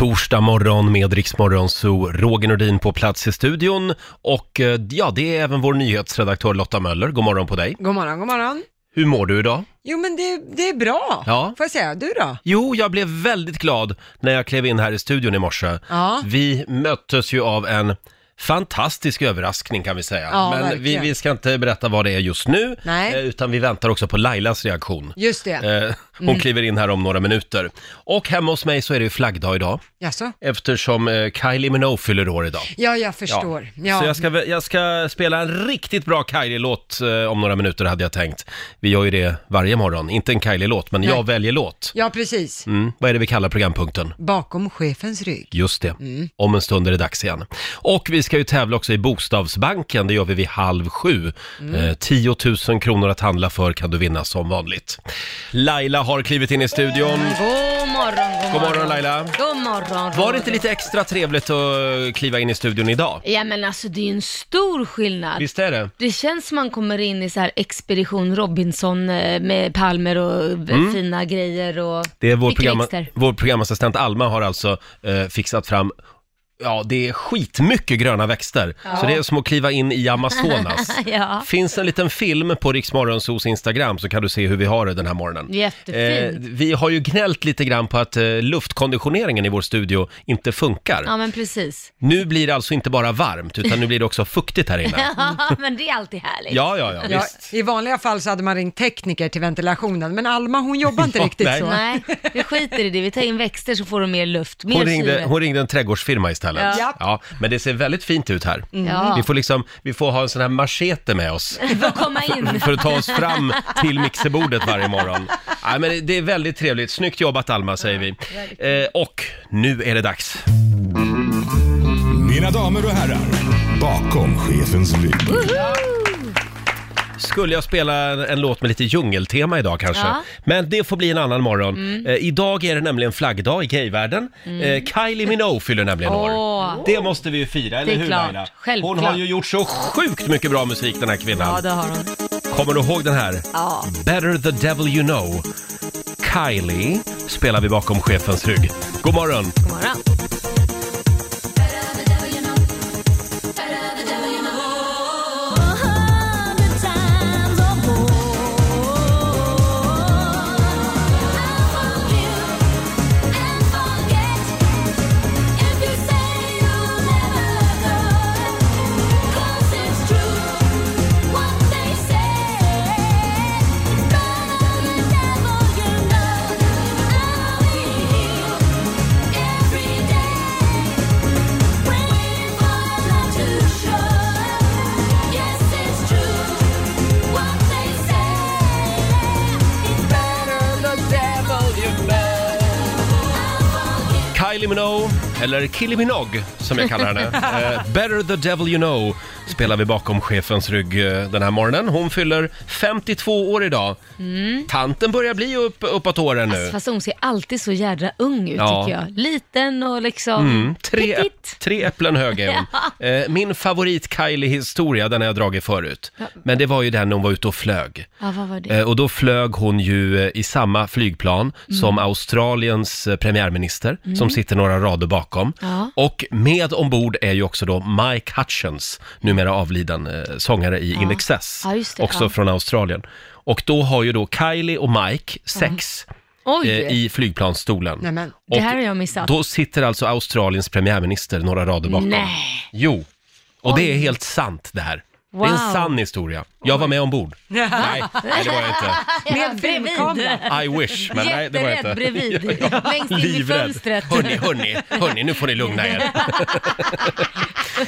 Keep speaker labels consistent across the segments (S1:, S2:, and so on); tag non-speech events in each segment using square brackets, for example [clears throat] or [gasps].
S1: Torsdag morgon med Riksmorgon, så Roger Nordin på plats i studion. Och eh, ja, det är även vår nyhetsredaktör Lotta Möller. God morgon på dig.
S2: God morgon, god morgon.
S1: Hur mår du idag?
S2: Jo, men det, det är bra,
S1: Ja.
S2: får jag säga. Du då?
S1: Jo, jag blev väldigt glad när jag klev in här i studion i morse.
S2: Ja.
S1: Vi möttes ju av en fantastisk överraskning kan vi säga.
S2: Ja,
S1: Men vi,
S2: verkligen.
S1: vi ska inte berätta vad det är just nu,
S2: Nej.
S1: eh, utan vi väntar också på Lailas reaktion.
S2: Just det.
S1: Eh, Hon
S2: Mm.
S1: kliver in här om några minuter. Och hemma hos mig så är det ju flaggdag idag,
S2: Jaså?
S1: eftersom eh, Kylie Minogue fyller år idag.
S2: Ja, jag förstår. Ja.
S1: Så jag ska, vä- jag ska spela en riktigt bra Kylie-låt eh, om några minuter hade jag tänkt. Vi gör ju det varje morgon, inte en Kylie-låt, men jag väljer låt.
S2: ja, precis.
S1: Mm, vad är det vi kallar programpunkten?
S2: Bakom chefens rygg.
S1: Just det. Om en stund är det dags igen. Och vi ska ju tävla också i Bokstavsbanken. Det gör vi vid halv sju. Eh, 10 000 kronor att handla för kan du vinna som vanligt. Laila har klivit in i studion.
S3: God morgon,
S1: God morgon Laila.
S3: God morgon,
S1: Var det
S3: Roger.
S1: inte lite extra trevligt att eh, kliva in i studion idag?
S3: Ja men alltså det är ju en stor skillnad.
S1: Visst är det?
S3: Det känns som man kommer in i så här expedition Robinson eh, med palmer och v- fina grejer och
S1: Mm. Det är vår,
S3: Vilken
S1: programma,
S3: växt där.
S1: vår programassistent Alma har alltså eh, fixat fram Ja, det är skitmycket gröna växter. Så det är som att kliva in i Amazonas.
S3: [laughs] [laughs] Ja.
S1: Finns en liten film på Riksmorgonsos Instagram så kan du se hur vi har det den här morgonen. Eh,
S3: Jättefint.
S1: vi har ju gnällt lite grann på att eh, luftkonditioneringen i vår studio inte funkar.
S3: Ja men precis.
S1: Nu blir det alltså inte bara varmt, utan nu blir det också fuktigt här inne.
S3: [laughs] Ja men det är alltid härligt.
S1: Mm. Ja, ja, ja,
S2: Ja,
S1: visst.
S2: I vanliga fall så hade man ringt tekniker till ventilationen, men Alma hon jobbar inte
S1: Ja,
S2: riktigt
S1: nej.
S2: så.
S3: Nej, vi skiter i det. Vi tar in växter så får de mer luft, mer
S1: Hon ringde,
S3: syre.
S1: hon ringde en trädgårdsfirma istället.
S2: Ja.
S1: men det ser väldigt fint ut här.
S3: Ja. [laughs]
S1: Vi får liksom, vi får ha en sån här machete med oss
S3: Vi får komma in.
S1: för att ta oss fram till mixerbordet varje morgon. Nej, men det är väldigt trevligt. Snyggt jobbat Alma, säger vi. Eh, och nu är det dags.
S4: Mina damer och herrar, bakom chefens rygg.
S1: Skulle jag spela en, en låt med lite djungeltema idag kanske?
S3: Ja. Mm.
S1: Men det får bli en annan morgon. Eh, idag är det nämligen flaggdag i gayvärlden. Eh, Kylie Minogue fyller nämligen år.
S3: Åh.
S1: Det måste vi ju fira, eller
S3: Det är
S1: hur
S3: klart.
S1: Laila?
S3: Självklart.
S1: Hon har ju gjort så sjukt mycket bra musik den här kvinnan.
S3: Ja det har hon.
S1: Kommer du ihåg den här?
S3: Ja.
S1: Better the devil you know. Kylie spelar vi bakom chefens rygg. God morgon!
S3: God morgon.
S1: Kylie Minogue, eller Kylie Minogue som jag kallar henne. Eh, Better the devil you know spelar vi bakom chefens rygg eh, den här morgonen. Hon fyller 52 år idag. Tanten börjar bli upp, uppåt åren nu.
S3: Fast hon ser alltid så jädra ung ut
S1: Ja.
S3: tycker jag. Liten och liksom
S1: Mm. Tre,
S3: petit.
S1: tre äpplen hög är hon. Eh, Min favorit Kylie-historia, den har jag dragit förut. Men det var ju den när hon var ute och flög.
S3: Ja, vad var det? Mm.
S1: Eh, Och då flög hon ju eh, i samma flygplan som Australiens eh, premiärminister, som sitter några rader bakom.
S3: Ja.
S1: Och med ombord är ju också då Mike Hutchins, numera avliden eh, sångare i In Excess,
S3: Ja, just det,
S1: också
S3: ja.
S1: från Australien. Och då har ju då Kylie och Mike sex
S3: Oj!
S1: eh, i flygplansstolen.
S2: Nej, men.
S1: Och
S3: Det här har jag missat.
S1: Då sitter alltså Australiens premiärminister några rader bakom.
S3: Nej.
S1: Jo, och det är helt sant det här. Det är en
S3: Wow.
S1: sann historia. Jag var med ombord.
S2: [laughs]
S1: Nej, nej, det var jag inte.
S3: [laughs] Med filmkamera.
S1: I wish, men nej det var jag inte.
S3: Jätterädd
S1: [laughs]
S3: bredvid. Längst in i fönstret.
S1: Hörni, hörni, hörni, nu får ni lugna
S3: [laughs]
S1: er.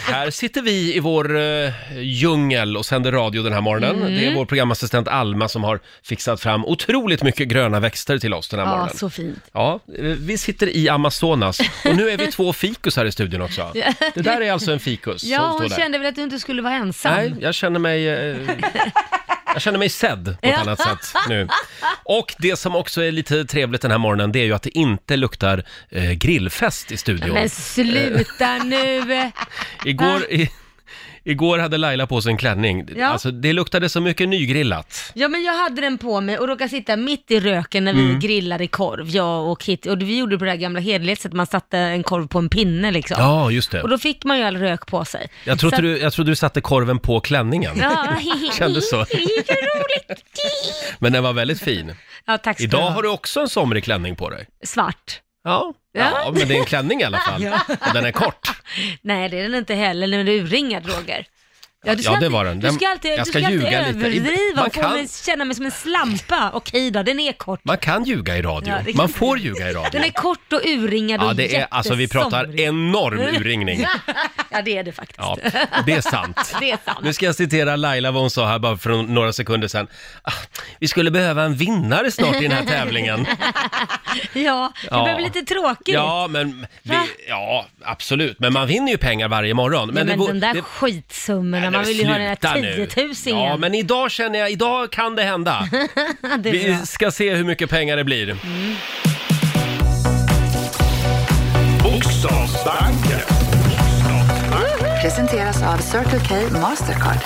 S1: här sitter vi i vår uh, djungel och sänder radio den här morgonen.
S3: Mm.
S1: Det är vår programassistent Alma som har fixat fram otroligt mycket gröna växter till oss den här
S3: Ja,
S1: morgonen.
S3: så fint.
S1: Ja, eh, vi sitter i Amazonas och nu är vi två fikus här i studion
S3: [laughs]
S1: också. Det där är alltså en fikus som
S3: Ja,
S1: står
S3: hon
S1: där.
S3: kände väl att du inte skulle vara ensam.
S1: Nej, jag känner mig... Eh, jag känner mig sedd på ett
S3: Ja.
S1: annat sätt nu. Och det som också är lite trevligt den här morgonen, det är ju att det inte luktar eh, grillfest i studion.
S3: Men sluta nu!
S1: Igår... I, Igår hade Laila på sig en klänning.
S3: Ja.
S1: Alltså, det luktade så mycket nygrillat.
S3: Ja men jag hade den på mig och råkade sitta mitt i röken när vi
S1: Mm.
S3: grillade korv, jag och Kitty. Och vi gjorde det på det här gamla hederliga sättet, man satte en korv på en pinne liksom.
S1: Ja, just det.
S3: Och då fick man ju all rök på sig.
S1: Jag trodde,
S3: Så-
S1: du, jag trodde du satte korven på klänningen. [laughs]
S3: Ja,
S1: Kändes
S3: [laughs]
S1: så.
S3: Så roligt.
S1: Men den var väldigt fin.
S3: Ja, tack ska
S1: Idag
S3: ha.
S1: har du också en somrig klänning på dig.
S3: Svart.
S1: Ja. Ja.
S3: Ja.
S1: men det är en klänning i alla
S3: [laughs]
S1: fall. Och den är kort.
S3: Nej, det är den inte heller. Den är urringad, Roger. Ja,
S1: Ja, det var den.
S3: Du
S1: Den-
S3: ska alltid,
S1: jag
S3: du
S1: ska
S3: ska alltid
S1: ljuga lite.
S3: överdriva
S1: Man
S3: och få
S1: kan-
S3: mig, känna mig som en slampa. Okej då, den är kort.
S1: Man kan ljuga i radio.
S3: Ja, det kan-
S1: Man får ljuga i radio.
S3: Den är kort och urringad
S1: Ja,
S3: och
S1: det är, alltså vi pratar
S3: jättesomrig.
S1: enorm urringning.
S3: [laughs] Ja, det är det faktiskt.
S1: Ja, det är sant.
S3: [laughs] Det är sant.
S1: Nu ska jag citera Laila vad hon sa här bara för några sekunder sedan. Ah, vi skulle behöva en vinnare snart i den
S3: [laughs]
S1: här tävlingen.
S3: Ja, det
S1: Ja.
S3: börjar bli lite tråkigt.
S1: Ja, men vi,
S3: Va?
S1: ja, absolut. Men man vinner ju pengar varje morgon.
S3: Men,
S1: det
S3: men
S1: vore-
S3: de där
S1: det-
S3: skitsummorna,
S1: Nej,
S3: man
S1: men
S3: vill ju ha den
S1: sluta
S3: här
S1: nu.
S3: 10 000
S1: Ja,
S3: [laughs]
S1: men idag känner jag, idag kan det hända.
S3: det är
S1: Vi
S3: bra. Mm.
S1: ska se hur mycket pengar det blir. Bokstavsbanken.
S5: Presenteras av Circle K Mastercard.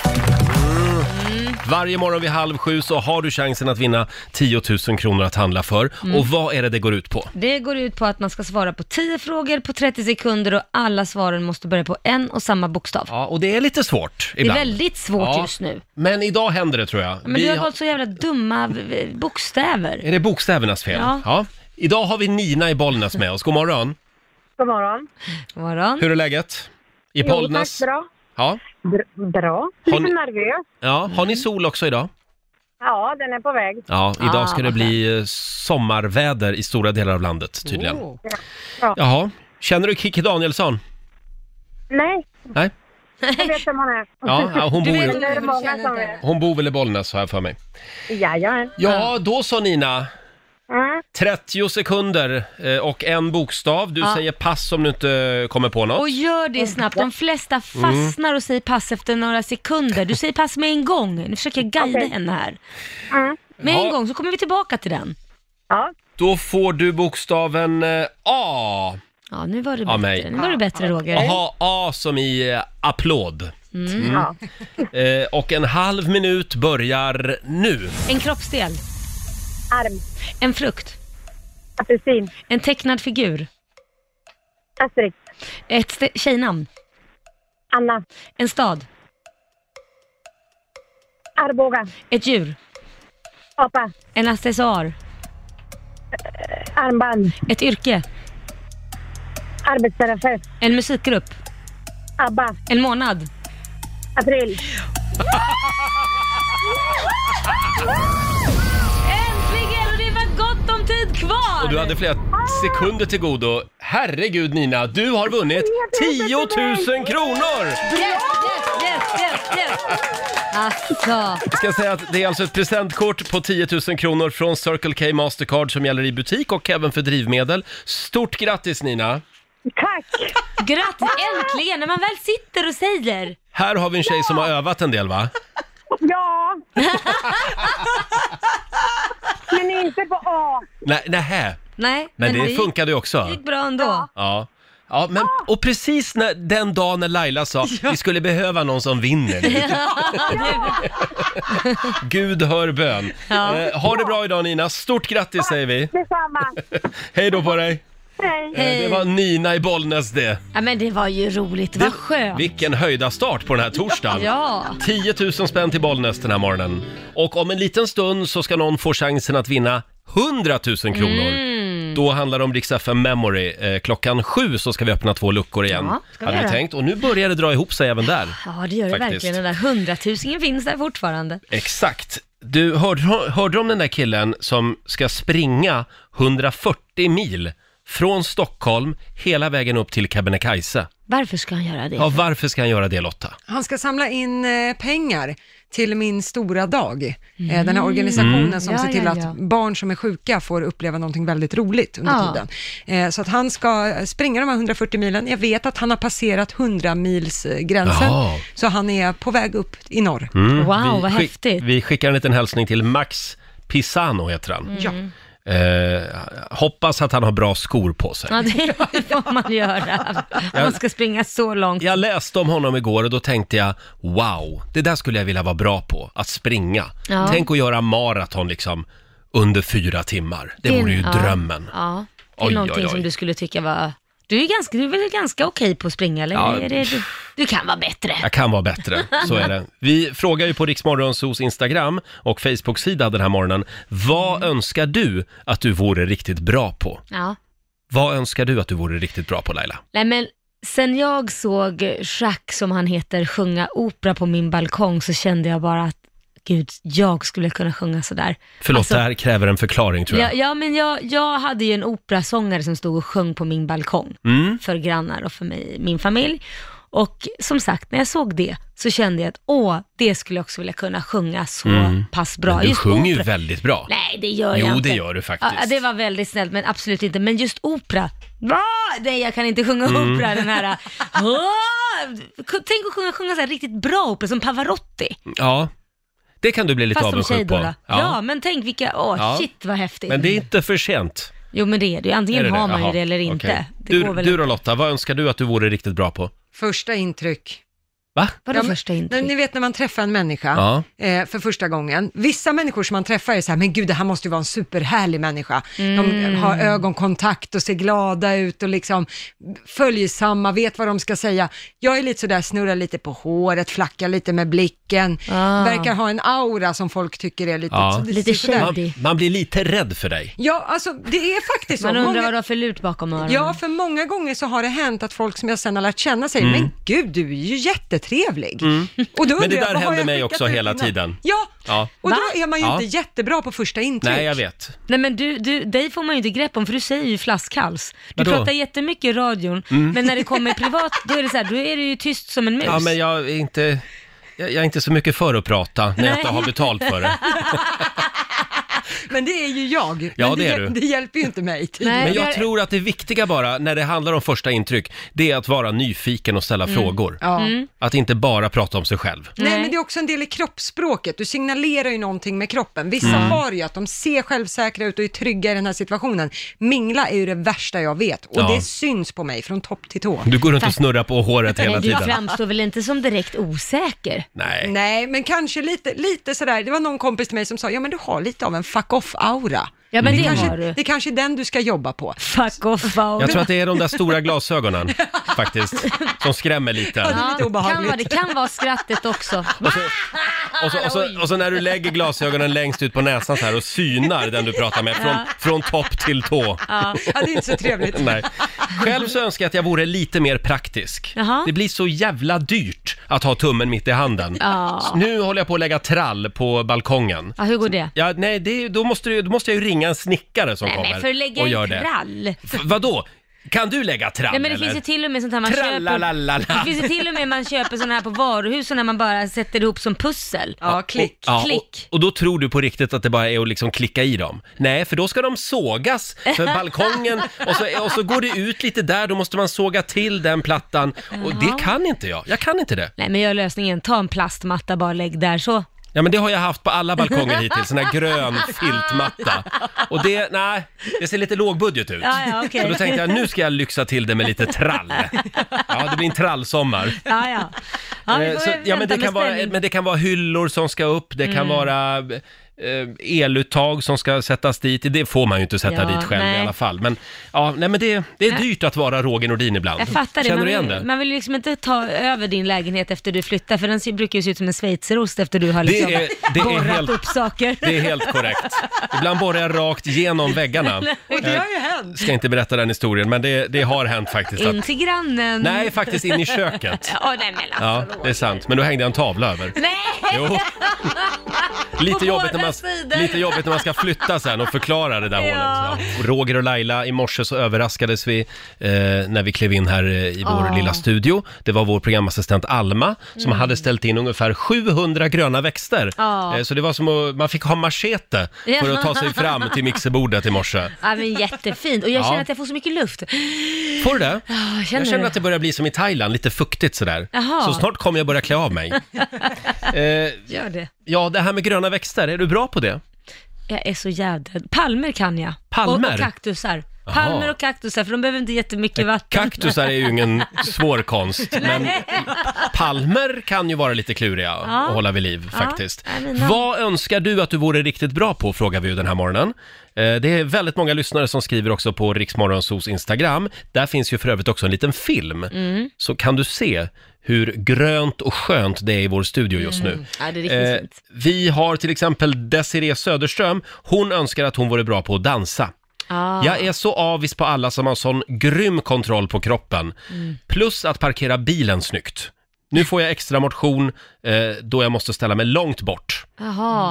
S1: Varje morgon vid halv sju så har du chansen att vinna 10 000 kronor att handla för.
S3: Mm.
S1: Och vad är det det går ut på?
S3: Det går ut på att man ska svara på 10 frågor på 30 sekunder och alla svaren måste börja på en och samma bokstav.
S1: Ja, och det är lite svårt
S3: det är
S1: ibland.
S3: väldigt svårt
S1: Ja,
S3: just nu.
S1: Men idag händer det tror jag.
S3: Men
S1: Vi
S3: du har
S1: har-
S3: valt så jävla dumma v- v- bokstäver.
S1: Är det bokstävernas fel?
S3: Ja.
S1: Idag har vi Nina i Bollnäs med oss. God morgon.
S6: God morgon.
S3: Vadå?
S1: Hur är läget? I
S6: Jo, tack,
S1: Bollnäs?
S6: bra.
S1: Ja.
S6: Br- bra.
S1: Har
S6: Lite [laughs]
S1: ni-
S6: nervös.
S1: ja. Har ni sol också idag?
S6: Ja, den är på väg.
S1: Ja, idag
S3: Ah,
S1: ska det
S3: vad
S1: bli eh, sommarväder i stora delar av landet tydligen.
S2: Åh.
S1: Jaha. Känner du Kikki Danielsson?
S6: Nej,
S1: Nej?
S6: jag vet vem hon [laughs] är.
S1: Ja, ja, hon,
S3: Du
S1: bor
S3: vet
S1: ju,
S6: Det är
S3: inte
S6: många
S3: känner
S6: som
S3: inte.
S6: är.
S1: hon bor väl i Bollnäs har jag för mig.
S6: Jajamän.
S1: Ja, då sa Nina.
S6: Mm.
S1: 30 sekunder eh, och en bokstav. Du
S3: Ja.
S1: säger pass om du inte kommer på något.
S3: Och gör det snabbt. De
S1: Mm.
S3: flesta fastnar och säger pass efter några sekunder. Du säger pass med en gång. Nu försöker jag guida
S6: Okej.
S3: henne här.
S6: Mm.
S3: Med
S1: Ja.
S3: en gång så kommer vi tillbaka till den.
S6: Ja,
S1: Då får du bokstaven eh, A.
S3: Ja, nu var det
S1: Ja,
S3: bättre.
S1: mig.
S3: Nu var det bättre Roger.
S1: Aha, A som i eh, applåd. Mm.
S6: ja.
S1: Eh, och en halv minut börjar nu.
S3: En kroppsdel.
S6: Arm.
S3: En frukt.
S6: Apelsin.
S3: En tecknad figur.
S6: Astrid.
S3: Ett ste- tjejnamn.
S6: Anna.
S3: En stad.
S6: Arboga.
S3: Ett djur.
S6: Apa.
S3: En accessoar.
S6: Armband.
S3: Ett yrke.
S6: Arbetsterapeut.
S3: En musikgrupp.
S6: Abba.
S3: En månad.
S6: April.
S3: Äntligen! Och det var gott om tid kvar!
S1: Och du hade flera sekunder till godo. Herregud Nina, du har vunnit 10 000 kronor!
S3: Yes, yes, yes, yes, yes! Alltså,
S1: Jag ska säga att det är alltså ett presentkort på 10 000 kronor från Circle K Mastercard som gäller i butik och även för drivmedel. Stort grattis Nina!
S6: Tack! [laughs]
S3: grattis! Äntligen! När man väl sitter och säger
S1: Här har vi en tjej som har övat en del va? [laughs]
S6: Ja! Men inte på A.
S1: Nej, nähä.
S3: nej,
S1: Men det
S3: gick-
S1: funkade ju också.
S3: det gick bra ändå.
S1: Ja. Ja, men, och precis när, den dagen när Laila sa vi skulle behöva någon som vinner
S3: [laughs]
S1: nu. Gud hör bön.
S3: Ja.
S1: Eh, ha det bra idag Nina, stort grattis säger vi. [laughs]
S6: Detsamma.
S1: Hej då på dig.
S6: Hej.
S1: Eh, Det var Nina i Bollnäs det.
S3: Ja, men det var ju roligt, vad skönt.
S1: Vilken höjda start på den här torsdagen.
S3: Ja.
S1: 10 000 spänn till Bollnäs den här morgonen. Och om en liten stund så ska någon få chansen att vinna 100 000 kronor.
S3: Mm.
S1: Då handlar det om Rix FM Memory. Eh, klockan sju så ska vi öppna två luckor igen.
S3: Ja, ska vi
S1: hade vi
S3: göra.
S1: tänkt. Och nu börjar det dra ihop sig även där.
S3: Ja, det gör det
S1: Faktiskt.
S3: verkligen. Den där hundratusingen finns där fortfarande.
S1: Exakt. Du, hörde, hörde du om den där killen som ska springa 140 mil från Stockholm hela vägen upp till Kebnekaise?
S3: Varför ska han göra det?
S1: Ja, varför ska han göra det Lotta?
S2: Han ska samla in eh, pengar till Min stora dag, eh, den här organisationen som
S3: Ja,
S2: ser till
S3: Mm. ja, ja.
S2: att barn som är sjuka får uppleva någonting väldigt roligt under
S3: Ja.
S2: tiden. Eh, Så att han ska springa de här 140 milen. Jag vet att han har passerat 100 mils eh, gränsen,
S1: Jaha.
S2: så han är på väg upp i norr.
S3: Wow, vad
S1: Mm. skick-
S3: häftigt.
S1: Vi skickar en liten hälsning till Max Pisano heter han.
S2: Ja.
S1: Eh, hoppas att han har bra skor på sig.
S3: Ja, det [laughs] får man göra. Om man ska springa så långt.
S1: Jag läste om honom igår och då tänkte jag, wow, det där skulle jag vilja vara bra på, att springa.
S3: Ja.
S1: Tänk att göra maraton liksom under fyra timmar. Det vore ju
S3: ja.
S1: drömmen.
S3: Ja. Det är
S1: Oj,
S3: någonting
S1: oj, oj.
S3: som du skulle tycka var... Du är, ganska, du är väl ganska okej på att springa, eller?
S1: Ja.
S3: Är det, du, du kan vara bättre.
S1: Jag kan vara bättre, så är det. Vi frågar ju på Riksmorgonsos Instagram och Facebook-sida den här morgonen. Vad önskar du att du vore riktigt bra på?
S3: Ja.
S1: Vad önskar du att du vore riktigt bra på Laila?
S3: Nej, men sen jag såg Jacques, som han heter, sjunga opera på min balkong så kände jag bara att Gud, jag skulle kunna sjunga sådär.
S1: Förlåt,
S3: Alltså-
S1: det här kräver en förklaring tror jag.
S3: Ja, ja, men jag, jag hade ju en operasångare som stod och sjöng på min balkong
S1: Mm.
S3: för grannar och för mig, min familj. Och som sagt, när jag såg det så kände jag att åh, det skulle jag också vilja kunna sjunga så pass bra.
S1: Mm. Men du
S3: Just
S1: sjunger ju
S3: opera-
S1: väldigt bra.
S3: Nej, det gör jag
S1: Jo,
S3: inte.
S1: det gör du faktiskt.
S3: Ja, det var väldigt snällt, men absolut inte. Men just opera. Va? Nej, jag kan inte sjunga
S1: Mm.
S3: opera. Den här, [laughs] Åh! Tänk att sjunga, sjunga så här riktigt bra opera, som Pavarotti.
S1: Ja, det kan du bli lite
S3: Fast som tjej
S1: avundsjuk på.
S3: då. då. Ja. men tänk vilka, åh
S1: Ja.
S3: shit vad häftigt.
S1: Men det är inte för sent.
S3: Jo men det är det ju, antingen
S1: Är det det?
S3: har man
S1: Jaha,
S3: ju det eller inte.
S1: okej.
S3: Det
S1: Du,
S3: går väl
S1: du då Lotta, vad önskar du att du vore riktigt bra på?
S2: Första intryck.
S1: Va?
S3: Vadå
S2: Ja, men-
S3: första intryck?
S2: Nej, Ni vet när man träffar en människa
S1: Ja.
S2: eh, för första gången. Vissa människor som man träffar är så här, men gud det här måste ju vara en superhärlig människa.
S3: Mm.
S2: De har ögonkontakt och ser glada ut och liksom följsamma, vet vad de ska säga. Jag är lite sådär, snurrar lite på håret, flackar lite med blicken,
S3: Ah.
S2: verkar ha en aura som folk tycker är lite...
S1: Ja.
S2: så det
S3: Lite
S2: ser sådär-
S3: tjej.
S1: Man, man blir lite rädd för dig.
S2: Ja, alltså det är faktiskt så.
S3: Man undrar
S2: Många-
S3: vad du har för lut bakom öronen.
S2: Ja, för många gånger så har det hänt att folk som jag sen har lärt känna säger, men gud, du är ju jättetrevlig. Och då
S1: Mm. Men det
S2: undrar jag,
S1: där
S2: vad har
S1: händer
S2: jag
S1: mig
S2: skickat
S1: också
S2: ut
S1: hela
S2: innan?
S1: tiden.
S2: Ja,
S1: Ja.
S2: och
S3: Va?
S2: då är man ju
S1: Ja.
S2: inte jättebra på första intryck.
S1: Nej, jag vet.
S3: Nej men du, du, dig får man ju inte grepp om för du säger ju flaskhals. Du
S1: Vadå? Mm.
S3: pratar jättemycket i radion, men när det kommer
S1: [laughs]
S3: privat, då är det så här, då är du ju tyst som en mus.
S1: Ja, men jag är inte, jag jag är inte så mycket för att prata när jag
S3: Nej.
S1: inte har betalt för
S3: [laughs]
S1: det.
S2: Men det är ju jag. Men
S1: Ja, det är
S2: hjäl-
S1: du.
S2: det hjälper ju inte
S1: [laughs]
S2: mig. tydligen.
S3: Nej,
S1: Men
S3: där-
S1: jag tror att det viktiga bara, när det handlar om första intryck, det är att vara nyfiken och
S3: Mm.
S1: ställa frågor.
S2: Ja.
S1: Att inte bara prata om sig själv.
S2: Nej,
S3: Nej.
S2: men det är också en del i kroppsspråket. Du signalerar ju någonting med kroppen. Vissa
S1: Mm.
S2: har ju att de ser självsäkra ut och är trygga i den här situationen. Mingla är ju det värsta jag vet och
S1: Ja.
S2: det syns på mig från topp till tå.
S1: Du går runt och snurrar på håret hela
S3: Men du
S1: tiden.
S3: framstår väl inte som direkt osäker?
S1: Nej.
S2: Nej, men kanske lite, lite sådär. Det var någon kompis till mig som sa, ja men du har lite av en fuck off-aura.
S3: Ja
S1: Mm.
S3: men det,
S2: Kanske,
S3: har du.
S2: det kanske är den du ska jobba på.
S3: Fuck off wow.
S1: Jag tror att det är de där stora
S3: [laughs]
S1: glasögonen faktiskt, som skrämmer lite.
S2: det är lite obehagligt.
S3: kan vara, det kan vara skrattet också.
S1: Alltså, Och så, och, så, och så när du lägger glasögonen längst ut på näsan så här och synar den du pratar med från, från topp till tå.
S2: Ja, det är inte så trevligt.
S1: [laughs] Nej. Själv så önskar jag att jag vore lite mer praktisk.
S3: Jaha.
S1: Det blir så jävla dyrt att ha tummen mitt i handen.
S3: Ja.
S1: Så Nu håller jag på att lägga trall på balkongen.
S3: Ja, hur går det?
S1: Ja, nej, det, då, måste, du- då måste jag ju ringa en snickare som
S3: Nej
S1: kommer
S3: men för att lägga
S1: och gör
S3: en
S1: det.
S3: krall.
S1: F- vadå? Kan du lägga trall
S3: Nej men det
S1: eller?
S3: finns ju till och med sånt här man köper.
S1: Trallalalala.
S3: Det finns ju till och med man köper såna här på varuhus och när man bara sätter ihop som pussel.
S2: Ja, klick.
S1: Ja,
S3: Klick.
S1: Och, och då tror du på riktigt att det bara är att liksom klicka i dem. Nej, för då ska de sågas
S3: [laughs]
S1: för balkongen och så, och så går det ut lite där, då måste man såga till den plattan. Och det kan inte jag. Jag kan inte det.
S3: Nej men gör lösningen, ta en plastmatta bara lägg där så.
S1: Ja, men det har jag haft på alla balkonger hittills, sån här grön
S3: [laughs]
S1: filtmatta. Och det, nej, det ser lite lågbudget ut.
S3: Ja, ja, okej.
S1: Så då tänkte jag, nu ska jag lyxa till det med lite
S3: [laughs]
S1: trall. Ja, det blir en trallsommar.
S3: Ja, ja. Ja, vi
S1: Eh,
S3: får
S1: så-
S3: väl
S1: ja, men,
S3: vänta
S1: det
S3: med
S1: kan vara,
S3: spänning. Mm.
S1: men det kan vara hyllor som ska upp, det kan vara eh, eluttag som ska sättas dit. Det får man ju inte sätta
S3: Ja,
S1: dit själv i
S3: nej.
S1: alla fall. Men, ja, nej, men det, det är dyrt att vara Roger Nordin ibland.
S3: Jag fattar det.
S1: Känner
S3: Man
S1: du
S3: vill,
S1: igen det?
S3: man vill liksom inte ta över din lägenhet efter du flyttar, för den ser- brukar ju se ut som en schweizerost efter du har
S1: Det
S3: liksom
S1: är- det är
S3: borrat
S1: helt-
S3: upp saker.
S1: Det är helt korrekt. Ibland borrar jag rakt genom
S3: [laughs]
S1: väggarna. Eh,
S2: Och det har ju hänt.
S1: Ska inte berätta den historien, men det, det har hänt faktiskt. Att,
S3: In till grannen.
S1: nej, faktiskt in i köket.
S3: [laughs] Ja, nej men alltså.
S1: Ja, det är sant. Men då hängde jag en tavla över.
S3: Nej! [laughs]
S1: Jo. Lite
S3: På
S1: jobbigt, när
S3: båda
S1: man,
S3: sidor.
S1: lite jobbigt när man ska flytta sen och förklara det där
S3: Ja.
S1: hålet. Ja. Roger och Laila, i morse så överraskades vi eh, när vi klev in här eh, i vår
S3: Ja. Mm.
S1: lilla studio. Det var vår programassistent Alma som hade ställt in ungefär 700 gröna växter.
S3: Ja.
S1: Eh, så det var som att man fick ha machete för att ta sig fram till mixerbordet i morse.
S3: Ja men jättefint och jag
S1: Ja.
S3: känner att jag får så mycket luft.
S1: Får du det?
S3: Ja,
S1: Jag känner
S3: du?
S1: att det börjar bli som i Thailand, lite fuktigt sådär.
S3: Jaha.
S1: Så snart kommer jag börja
S3: [laughs]
S1: klä av mig. eh,
S3: Gör det.
S1: ja, det här med gröna växter, är du bra på det?
S3: Jag är så jädra... Palmer kan jag.
S1: Palmer?
S3: Och, och kaktusar.
S1: Jaha.
S3: Palmer och kaktusar, för de behöver inte jättemycket vatten.
S1: Eh, Kaktusar är ju
S3: [laughs]
S1: ingen svår konst, men palmer kan ju vara lite kluriga att hålla vid liv
S3: Ja,
S1: faktiskt.
S3: nej, men de-
S1: Vad önskar du att du vore riktigt bra på, frågar vi ju den här morgonen. Eh, Det är väldigt många lyssnare som skriver också på Riksmorgonsos Instagram. Där finns ju för övrigt också en liten film,
S3: Mm.
S1: så kan du se hur grönt och skönt det är i vår studio just nu.
S3: Mm. Ja, det är riktigt
S1: Eh,
S3: fint.
S1: vi har till exempel Desiree Söderström. Hon önskar att hon vore bra på att dansa.
S3: Ah.
S1: Jag är så avis på alla som har sån grym kontroll på kroppen.
S3: Mm.
S1: Plus att parkera bilen snyggt.
S3: [laughs]
S1: Nu får jag extra motion eh, då jag måste ställa mig långt bort.
S3: Jaha,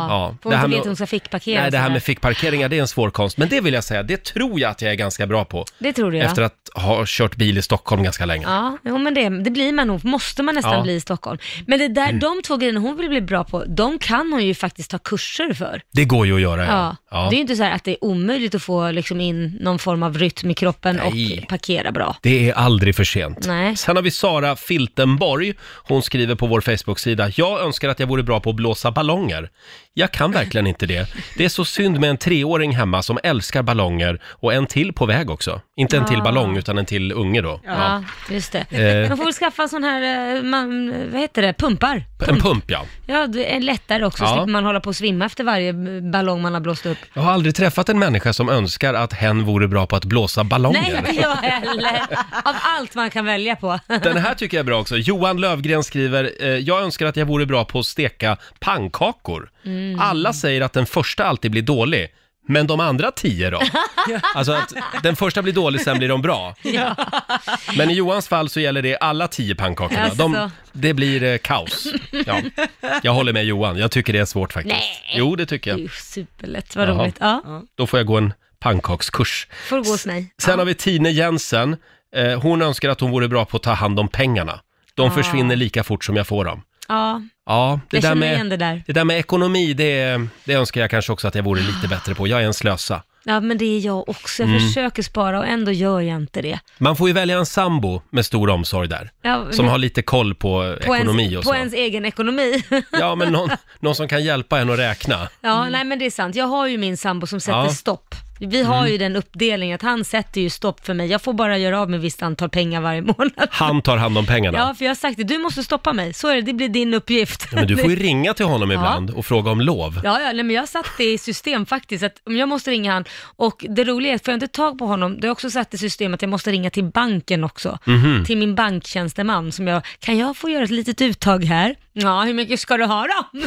S1: Ja,
S3: får
S1: det här
S3: hon inte
S1: med-
S3: veta att hon ska fickparkera?
S1: Nej, det här
S3: sådär?
S1: med fickparkeringar, det är en svår konst. Men det vill jag säga, det tror jag att jag är ganska bra på.
S3: Det tror du ja.
S1: Efter att ha kört bil i Stockholm ganska länge.
S3: Ja, jo, men det, det blir man nog, måste man nästan
S1: Ja. Mm.
S3: bli i Stockholm. Men det där, de två grejerna hon vill bli bra på, de kan hon ju faktiskt ta kurser för.
S1: Det går ju att göra,
S3: Ja.
S1: ja. ja.
S3: Det är ju inte så här att det är omöjligt att få liksom in någon form av rytm i kroppen
S1: Nej.
S3: och parkera bra.
S1: Det är aldrig för sent.
S3: Nej.
S1: Sen har vi Sara Filtenborg. Hon skriver på vår Facebook-sida. Jag önskar att jag vore bra på att blåsa ballonger. Jag kan verkligen inte det. Det är så synd med en treåring hemma som älskar ballonger och en till på väg också. Inte en till ballong utan en till unge då.
S3: Ah. Ja, just
S1: Eh.
S3: det. Man får väl skaffa en sån här, eh, man, vad heter det, pumpar.
S1: En pump ja.
S3: Ja, det är lättare också,
S1: Ja.
S3: slipper man hålla på och svimma efter varje ballong man har blåst upp.
S1: Jag har aldrig träffat en människa som önskar att hen vore bra på att blåsa ballonger.
S3: Nej, inte jag heller. Av allt man kan välja på.
S1: Den här tycker jag är bra också. Johan Lövgren skriver, eh, jag önskar att jag vore bra på att steka pannkakor.
S3: Mm.
S1: Alla säger att den första alltid blir dålig. Men de andra tio
S3: [laughs]
S1: då? Alltså att den första blir dålig, sen blir de bra. Men i Johans fall så gäller det alla tio pannkakorna. De,
S3: Alltså.
S1: det blir eh, kaos. Ja. Jag håller med Johan, jag tycker det är svårt faktiskt.
S3: Nej.
S1: Jo, det tycker
S3: [laughs] Det
S1: jag.
S3: är ju superlätt, vad
S1: Jaha.
S3: roligt. Ja,
S1: Då får jag gå en pannkakskurs.
S3: får gå hos mig.
S1: Sen har vi Tine Jensen. Eh, Hon önskar att hon vore bra på att ta hand om pengarna. De försvinner lika fort som jag får dem.
S3: Ja,
S1: Ja, det,
S3: Ah. jag
S1: där
S3: känner igen
S1: med,
S3: det där.
S1: det där med ekonomi, det, det önskar jag kanske också att jag vore
S3: Ah.
S1: lite bättre på. Jag är en slösa.
S3: Ja, men det är jag också.
S1: Mm.
S3: Jag försöker spara och ändå gör jag inte det.
S1: Man får ju välja en sambo med stor omsorg där.
S3: Ja,
S1: Som
S3: men-
S1: har lite koll på,
S3: På
S1: ekonomi
S3: ens,
S1: och så.
S3: På ens egen ekonomi. [laughs]
S1: Ja, men någon, någon som kan hjälpa en att räkna.
S3: Ja, nej men det är sant. Jag har ju min sambo som sätter
S1: Mm. Ja. Mm.
S3: stopp. Vi har ju den uppdelningen att han sätter ju stopp för mig. Jag får bara göra av med visst antal pengar varje [laughs] månad.
S1: Han tar hand om pengarna.
S3: Ja, för jag har sagt det. Du måste stoppa mig. Så är det, det blir din uppgift.
S1: Men
S3: [laughs]
S1: du får ju ringa till honom ibland och fråga om lov.
S3: Ja, ja nej, men jag har satt det i system faktiskt. Att om jag måste ringa han och det roliga är att får jag inte tag på honom, det har jag också satt i system att jag måste ringa till banken också.
S1: Mhm.
S3: Till min banktjänsteman som jag, kan jag få göra ett litet uttag här? Ja, hur mycket ska du ha då?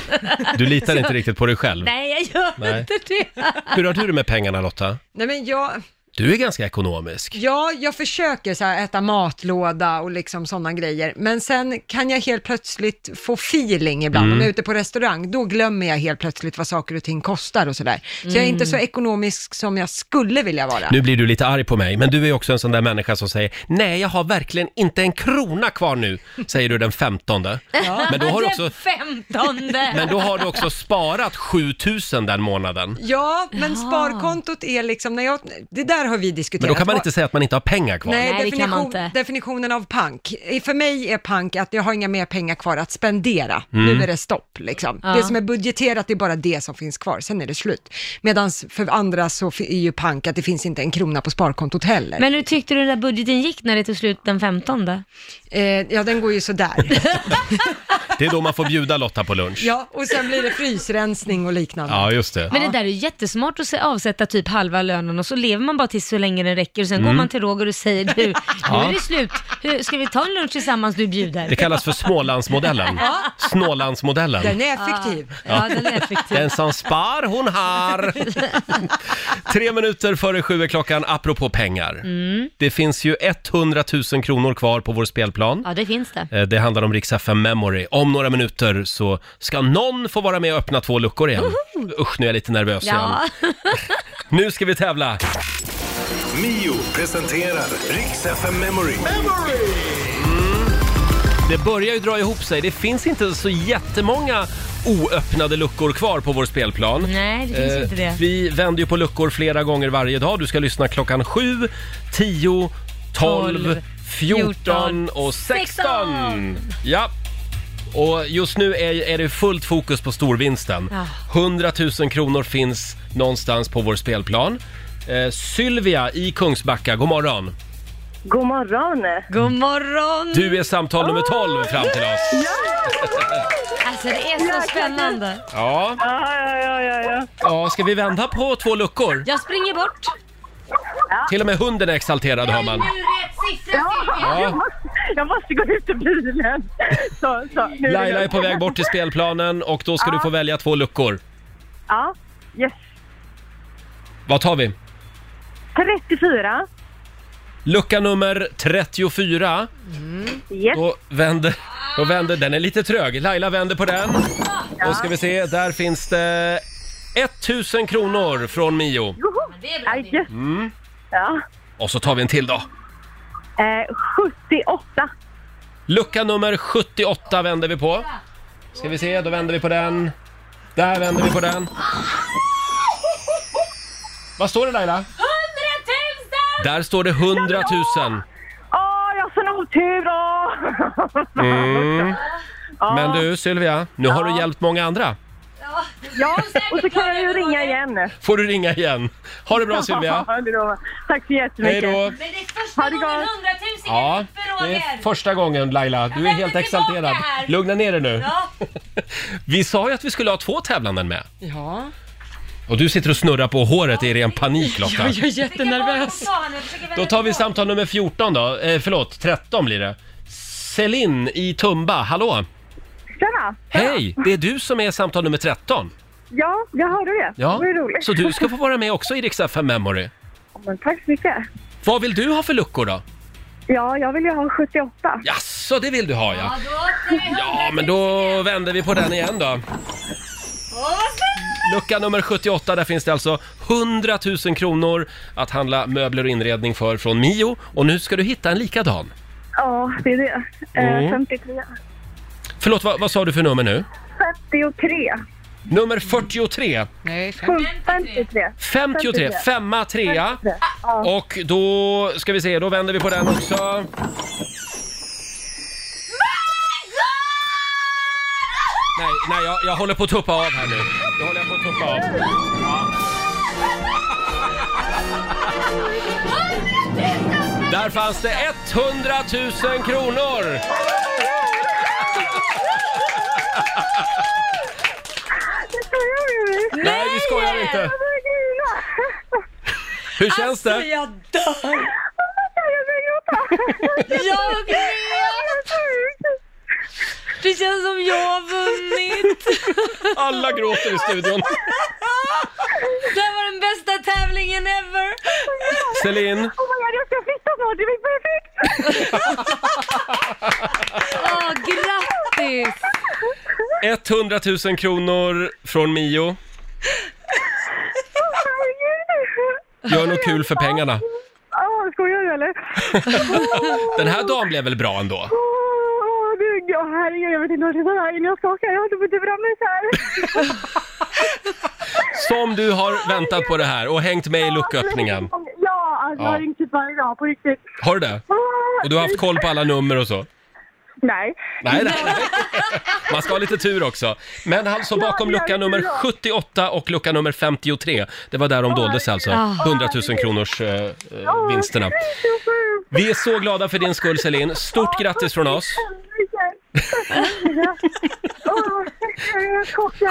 S1: Du litar inte riktigt på dig själv.
S3: [laughs] nej, jag gör
S1: Nej.
S3: inte det.
S1: Hur har du det med pengarna Lotta?
S2: Nej men jag,
S1: Du är ganska ekonomisk.
S2: Ja, jag försöker så här äta matlåda och liksom sådana grejer. Men sen kan jag helt plötsligt få feeling ibland. Om jag
S1: Mm.
S2: är ute på restaurang, då glömmer jag helt plötsligt vad saker och ting kostar och sådär. Så jag är inte så ekonomisk som jag skulle vilja vara.
S1: Mm. Nu blir du lite arg på mig, men du är också en sån där människa som säger Nej, jag har verkligen inte en krona kvar nu, säger du den 15. Men, då har du också,
S3: Den
S1: [laughs]
S3: femtonde!
S1: men då har du också sparat 7000 den månaden.
S2: Ja, men sparkontot är liksom, när jag, det där har vi diskuterat.
S1: Men då kan man inte säga att man inte har pengar kvar.
S2: Nej,
S3: Nej, det kan man
S2: definition,
S3: inte.
S2: definitionen av punk. Eh, För mig är punk att jag har inga mer pengar kvar att spendera.
S1: Mm.
S2: Nu är det stopp liksom. Det som är budgeterat är bara det som finns kvar, sen är det slut. Medan för andra så fi- är ju punk att det finns inte en krona på sparkontot heller.
S3: Men hur tyckte du den där budgeten gick när det tog slut den 15?
S2: Eh, ja, den går ju
S3: [laughs]
S2: sådär.
S1: Det är då man får bjuda Lotta på lunch.
S2: ja, och sen blir det frysrensning och liknande.
S1: Ja, just det.
S3: Men det där är ju jättesmart att se- avsätta typ halva lönen och så lever man bara tills så länge den räcker och sen
S1: Mm.
S3: går man till Roger och säger
S1: [laughs]
S3: du, nu är det slut, Hur, ska vi ta en lunch tillsammans du
S1: Det
S3: bjuder?
S1: kallas för Smålandsmodellen.
S2: Den
S1: Snålandsmodellen.
S2: är effektiv.
S3: Ja, den är effektiv.
S1: Den som spar, hon
S2: [laughs]
S1: har! Tre minuter före sju är klockan, apropå pengar.
S2: Mm.
S1: Det finns ju 100 000 kronor kvar på vår spelplan.
S3: Ja, det finns det.
S1: Eh, Det handlar om Rix FM Memory. Om några minuter så ska någon få vara med och öppna två luckor igen. Usch, nu är jag lite nervös
S3: Ja.
S1: igen. Nu ska vi tävla!
S4: Mio presenterar Riks FM Memory.
S1: Det börjar ju dra ihop sig. Det finns inte så jättemånga oöppnade luckor kvar på vår spelplan.
S3: Nej, det finns
S1: Eh,
S3: inte det.
S1: Vi vänder ju på luckor flera gånger varje dag. Du ska lyssna klockan 7, 10, 12, 14 och 16.
S3: Sexton.
S1: Ja. Och just nu är, är det fullt fokus på storvinsten.
S3: Ja.
S1: 100 000 kronor finns någonstans på vår spelplan. Eh, Sylvia i Kungsbacka, god morgon.
S6: God morgon.
S3: God morgon!
S1: Du är samtal nummer 12 fram till oss.
S3: Alltså det är så spännande.
S1: Ja,
S6: Ja, ja, ja, ja, ja.
S1: ja ska vi vända på två luckor?
S3: Jag springer bort.
S1: Till och med hunden är exalterad hör man.
S6: Jag,
S1: Ja.
S6: måste, [laughs] jag måste gå ut ur bilen. Så, så, nu det
S1: Laila är
S6: lugnt.
S1: på väg bort till spelplanen och då ska du få välja två luckor.
S6: Ja, yes.
S1: Vad tar vi?
S6: 34.
S1: Lucka nummer 34.
S6: Yes.
S1: Då vänder, då vänder, den är lite trög. Laila vänder på den. Då ska vi se, där finns det 1000 kronor från Mio.
S6: Ja, yes.
S1: Mm.
S6: Ja.
S1: Och så tar vi en till då.
S6: Eh, 78.
S1: Lucka nummer 78 vänder vi på. Ska vi se, då vänder vi på den. Där vänder vi på den. Vad står det Laila?
S3: 100
S1: Där står det 100 000.
S6: Åh, jag har sån otur! Åh.
S1: [laughs] Mm. Men du Sylvia, nu har du hjälpt många andra.
S6: Ja, och så kan jag ju ringa igen.
S1: Får du ringa igen. Ha det
S3: [laughs]
S1: bra Sylvia.
S6: Ja, det lovar. Tack så
S1: Hej
S6: jättemycket.
S1: då.
S3: Men det är första
S6: Ha det gången gott.
S1: Ja, det är första gången Laila. Du är
S3: vänder
S1: helt
S3: tillbaka
S1: exalterad.
S3: här.
S1: Lugna ner dig nu.
S3: Ja.
S1: [laughs] Vi sa ju att vi skulle ha två tävlanden med.
S2: Ja,
S1: Och du sitter och snurrar på håret i ren panik Lotta.
S2: jag är jättenervös.
S1: Då tar vi samtal nummer 14 då. Eh, förlåt, 13 blir det. Celine i Tumba, hallå!
S6: Tjena!
S1: Hej! Det är du som är samtal nummer 13.
S6: Ja, jag hörde det. Det var ju roligt.
S1: Så du ska få vara med också i Rix FM Memory.
S6: Men tack så mycket.
S1: Vad vill du ha för luckor då?
S6: Ja, jag vill ju ha 78.
S1: Jaså, det vill du ha ja.
S3: då är
S1: Ja, men då vänder vi på den igen då. Lucka nummer 78, där finns det alltså 100 000 kronor att handla möbler och inredning för från Mio. Och nu ska du hitta en likadan.
S6: Ja, det är det.
S1: Mm.
S6: Eh, 53.
S1: Förlåt, vad, vad sa du för nummer nu?
S6: 53.
S1: Nummer 43.
S2: Nej, fem.
S6: Punkt 53.
S1: 53, femma, trea. Och då ska vi se, då vänder vi på den också. Nej, nej, jag, jag håller på att tuppa av här nu. Nu håller jag på att tuppa av. Ja. Där fanns det 100 000 kronor!
S6: Det skojar ju vi.
S1: Nej, vi skojar inte.
S6: Jag börjar grina.
S1: Hur känns
S3: Alltså,
S1: det?
S3: jag dör!
S6: Jag börjar gråta.
S3: Jag vet! Det känns som jag har vunnit!
S1: Alla gråter i
S3: [laughs]
S1: studion.
S3: Det här var den bästa tävlingen ever!
S1: Celine,
S6: Oh my god, jag ska flytta snart. Det blir perfekt.
S3: Åh, grattis!
S1: 100 000 kronor från Mio.
S6: Herregud.
S1: Gör något kul för pengarna.
S6: Ah, skojar du eller?
S1: Den här dagen blev väl bra ändå?
S6: Åh, åh, du, ja, herregud, jag vet inte vad jag ska säga. Innan jag skakar, jag håller på att dra mig så här.
S1: Som du har väntat på det här och hängt med i lucköppningen.
S6: Ja, alltså, jag
S1: Ja.
S6: har ringt typ varje dag på riktigt.
S1: Har du det?
S6: Ah,
S1: Och du har haft koll på alla nummer och så?
S6: Nej.
S1: Nej,
S3: [laughs]
S1: nej, nej. Man ska ha lite tur också. Men alltså bakom lucka nummer 78 och lucka nummer 53, det var där de doldes alltså, 100 000 kronors eh, eh, vinsterna. Vi är så glada för din skull Celine. Stort grattis från oss.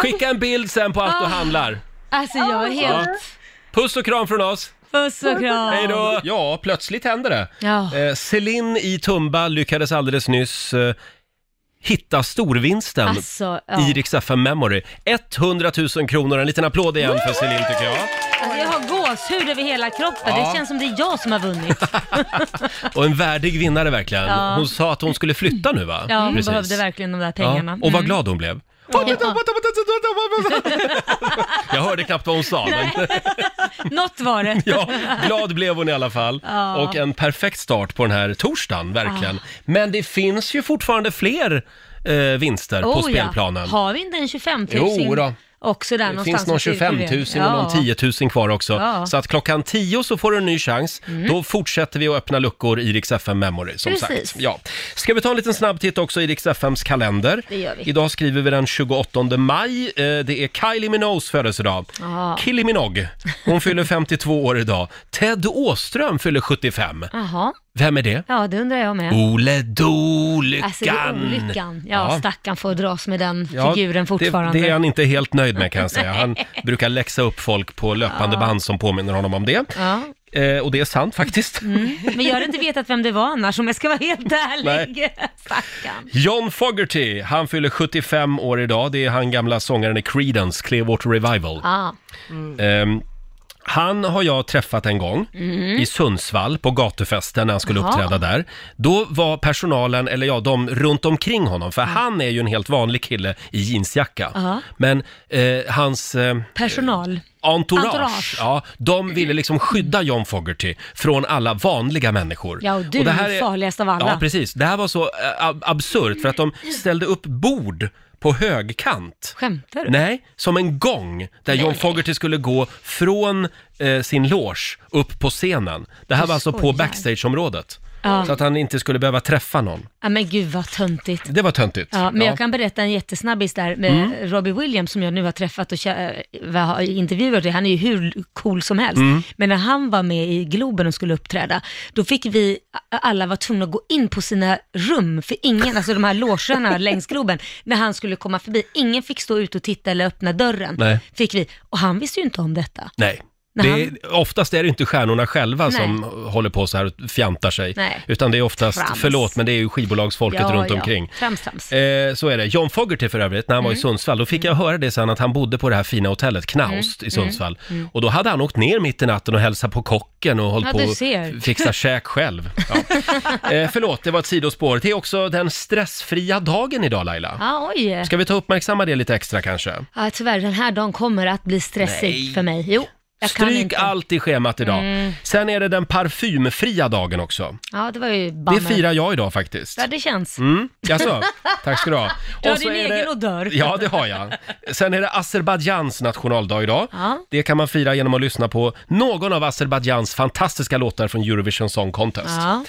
S1: Skicka en bild sen på
S3: Ah.
S1: allt du handlar.
S3: Alltså jag är helt...
S1: Puss och kram från oss.
S3: Puss och kram!
S1: Hej då! Ja, plötsligt händer det.
S3: Ah. Ja.
S1: Eh, Celine i Tumba lyckades alldeles nyss eh, hitta storvinsten
S3: Alltså, ja.
S1: i Rix FM Memory. 100 000 kronor, en liten applåd igen för Celine tycker jag.
S3: Alltså, jag har gåshud över hela kroppen.
S1: Ja.
S3: Det känns som det är jag som har vunnit.
S1: Och en värdig vinnare verkligen.
S3: Ja.
S1: Hon sa att hon skulle flytta nu va?
S3: Ja, hon
S1: Precis.
S3: behövde verkligen de där
S1: Ja,
S3: pengarna. Mm.
S1: Och vad glad hon blev.
S3: Ja.
S1: [laughs] Jag hörde knappt vad hon sa,
S3: [laughs]
S1: men
S3: Något var det.
S1: [laughs] ja, glad blev hon i alla fall.
S3: Ja. Ah.
S1: Och en perfekt start på den här torsdagen, verkligen. Men det finns ju fortfarande fler eh, vinster på
S3: Oh, ja.
S1: spelplanen.
S3: Har vi inte en 25 000?
S1: Jo då.
S3: Och sådär
S1: Det
S3: någonstans
S1: finns någon
S3: i cirkeln.
S1: 25 000 och någon 10 000 kvar också.
S3: Ja. Mm.
S1: Så att klockan 10 så får du en ny chans. Då fortsätter vi att öppna luckor i Rix FM Memory som
S3: Precis.
S1: sagt. Ja. Ska vi ta en liten snabb titt också i Rix FMs kalender?
S3: Det gör vi.
S1: Idag skriver vi den 28 maj. Eh, Det är Kylie Minogues födelsedag.
S3: Ja.
S1: Kylie Minogue, hon
S3: [laughs]
S1: fyller 52 år idag. Ted Åström fyller 75.
S3: Jaha,
S1: Vem är det?
S3: ja det undrar jag med.
S1: Ole Dolyckan!
S3: Alltså det är olyckan. Ja, stackarn får dras med den
S1: Ja,
S3: figuren fortfarande.
S1: Det, det är han inte helt nöjd med kan jag säga.
S3: [laughs]
S1: Han brukar läxa upp folk på löpande band som påminner honom om det.
S3: Ja. Mm.
S1: Eh, och det är sant faktiskt.
S3: Men jag hade inte vetat vem det var annars om jag ska vara
S1: [laughs]
S3: helt ärlig. Stackarn.
S1: John Fogerty, han fyller 75 år idag. Det är han gamla sångaren i Creedence, Clearwater Revival.
S3: Ja,
S1: Ehm, han har jag träffat en gång i Sundsvall på gatufesten när han skulle
S3: Mm. Jaha.
S1: uppträda där. Då var personalen, eller ja, de runt omkring honom, för han är ju en helt vanlig kille i jeansjacka.
S3: Ja.
S1: Men eh, hans... Eh,
S3: personal.
S1: Entourage,
S3: Entourage.
S1: Ja, de ville liksom skydda John Fogerty från alla vanliga människor.
S3: Ja, och du är farligast av alla.
S1: Ja, precis. Det här var så eh, ab- absurt för att de ställde upp bord på högkant.
S3: Skämtar du?
S1: Nej, som en gång där John Fogerty skulle gå från eh, sin loge upp på scenen. Det här var alltså på
S3: skojar.
S1: backstageområdet.
S3: Ja.
S1: Så att han inte skulle behöva träffa någon.
S3: Ja, men gud vad töntigt.
S1: Det var töntigt.
S3: Ja, men
S1: Ja. Mm.
S3: jag kan berätta en jättesnabbis där med Robbie Williams som jag nu har träffat och kä- äh, har intervjuat. Han är ju hur cool som helst.
S1: Mm.
S3: Men när han var med i Globen och skulle uppträda, då fick vi a- alla vara tvungna att gå in på sina rum, för ingen, alltså de
S1: [laughs]
S3: här logerna längs Globen, när han skulle komma förbi, ingen fick stå ute och titta eller öppna dörren.
S1: Nej.
S3: Fick vi. Och han visste ju inte om detta.
S1: Nej.
S3: När
S1: Det är, oftast är det inte stjärnorna själva
S3: Nej.
S1: som håller på så här och fjantar sig.
S3: Nej.
S1: Utan det är oftast,
S3: Trams.
S1: förlåt, men det är ju skivbolagsfolket runt omkring.
S3: Trams, trams.
S1: Eh, så är det. John Fogerty för övrigt, när han var
S3: Mm.
S1: i Sundsvall, då fick jag höra det sen att han bodde på det här fina hotellet Knaust
S3: Mm.
S1: i Sundsvall. Och då hade han åkt ner mitt i natten och hälsat på kocken och hållit
S3: Ja,
S1: på
S3: du
S1: att
S3: ser.
S1: fixa käk själv.
S3: [laughs]
S1: Ja. Eh, förlåt, det var ett sidospår. Det är också den stressfria dagen idag Laila.
S3: Ja, oj.
S1: Ska vi ta och uppmärksamma det lite extra kanske?
S3: Ja, tyvärr, den här dagen kommer att bli stressig
S1: Nej.
S3: för mig. Jo, jag kan
S1: Stryk
S3: inte. Mm.
S1: allt i schemat idag. Sen är det den parfymfria dagen också.
S3: Ja, det var ju bummer.
S1: Det firar jag idag faktiskt.
S3: Ja, det känns.
S1: Mm, jaså? Tack ska du ha.
S3: [laughs] Du har
S1: Och så
S3: din
S1: är
S3: egen
S1: det-
S3: odör.
S1: Ja, det har jag. Sen är det Azerbajdzjans nationaldag idag.
S3: Ja.
S1: Det kan man fira genom att lyssna på någon av Azerbajdzjans fantastiska låtar från Eurovision Song Contest.
S3: Ja.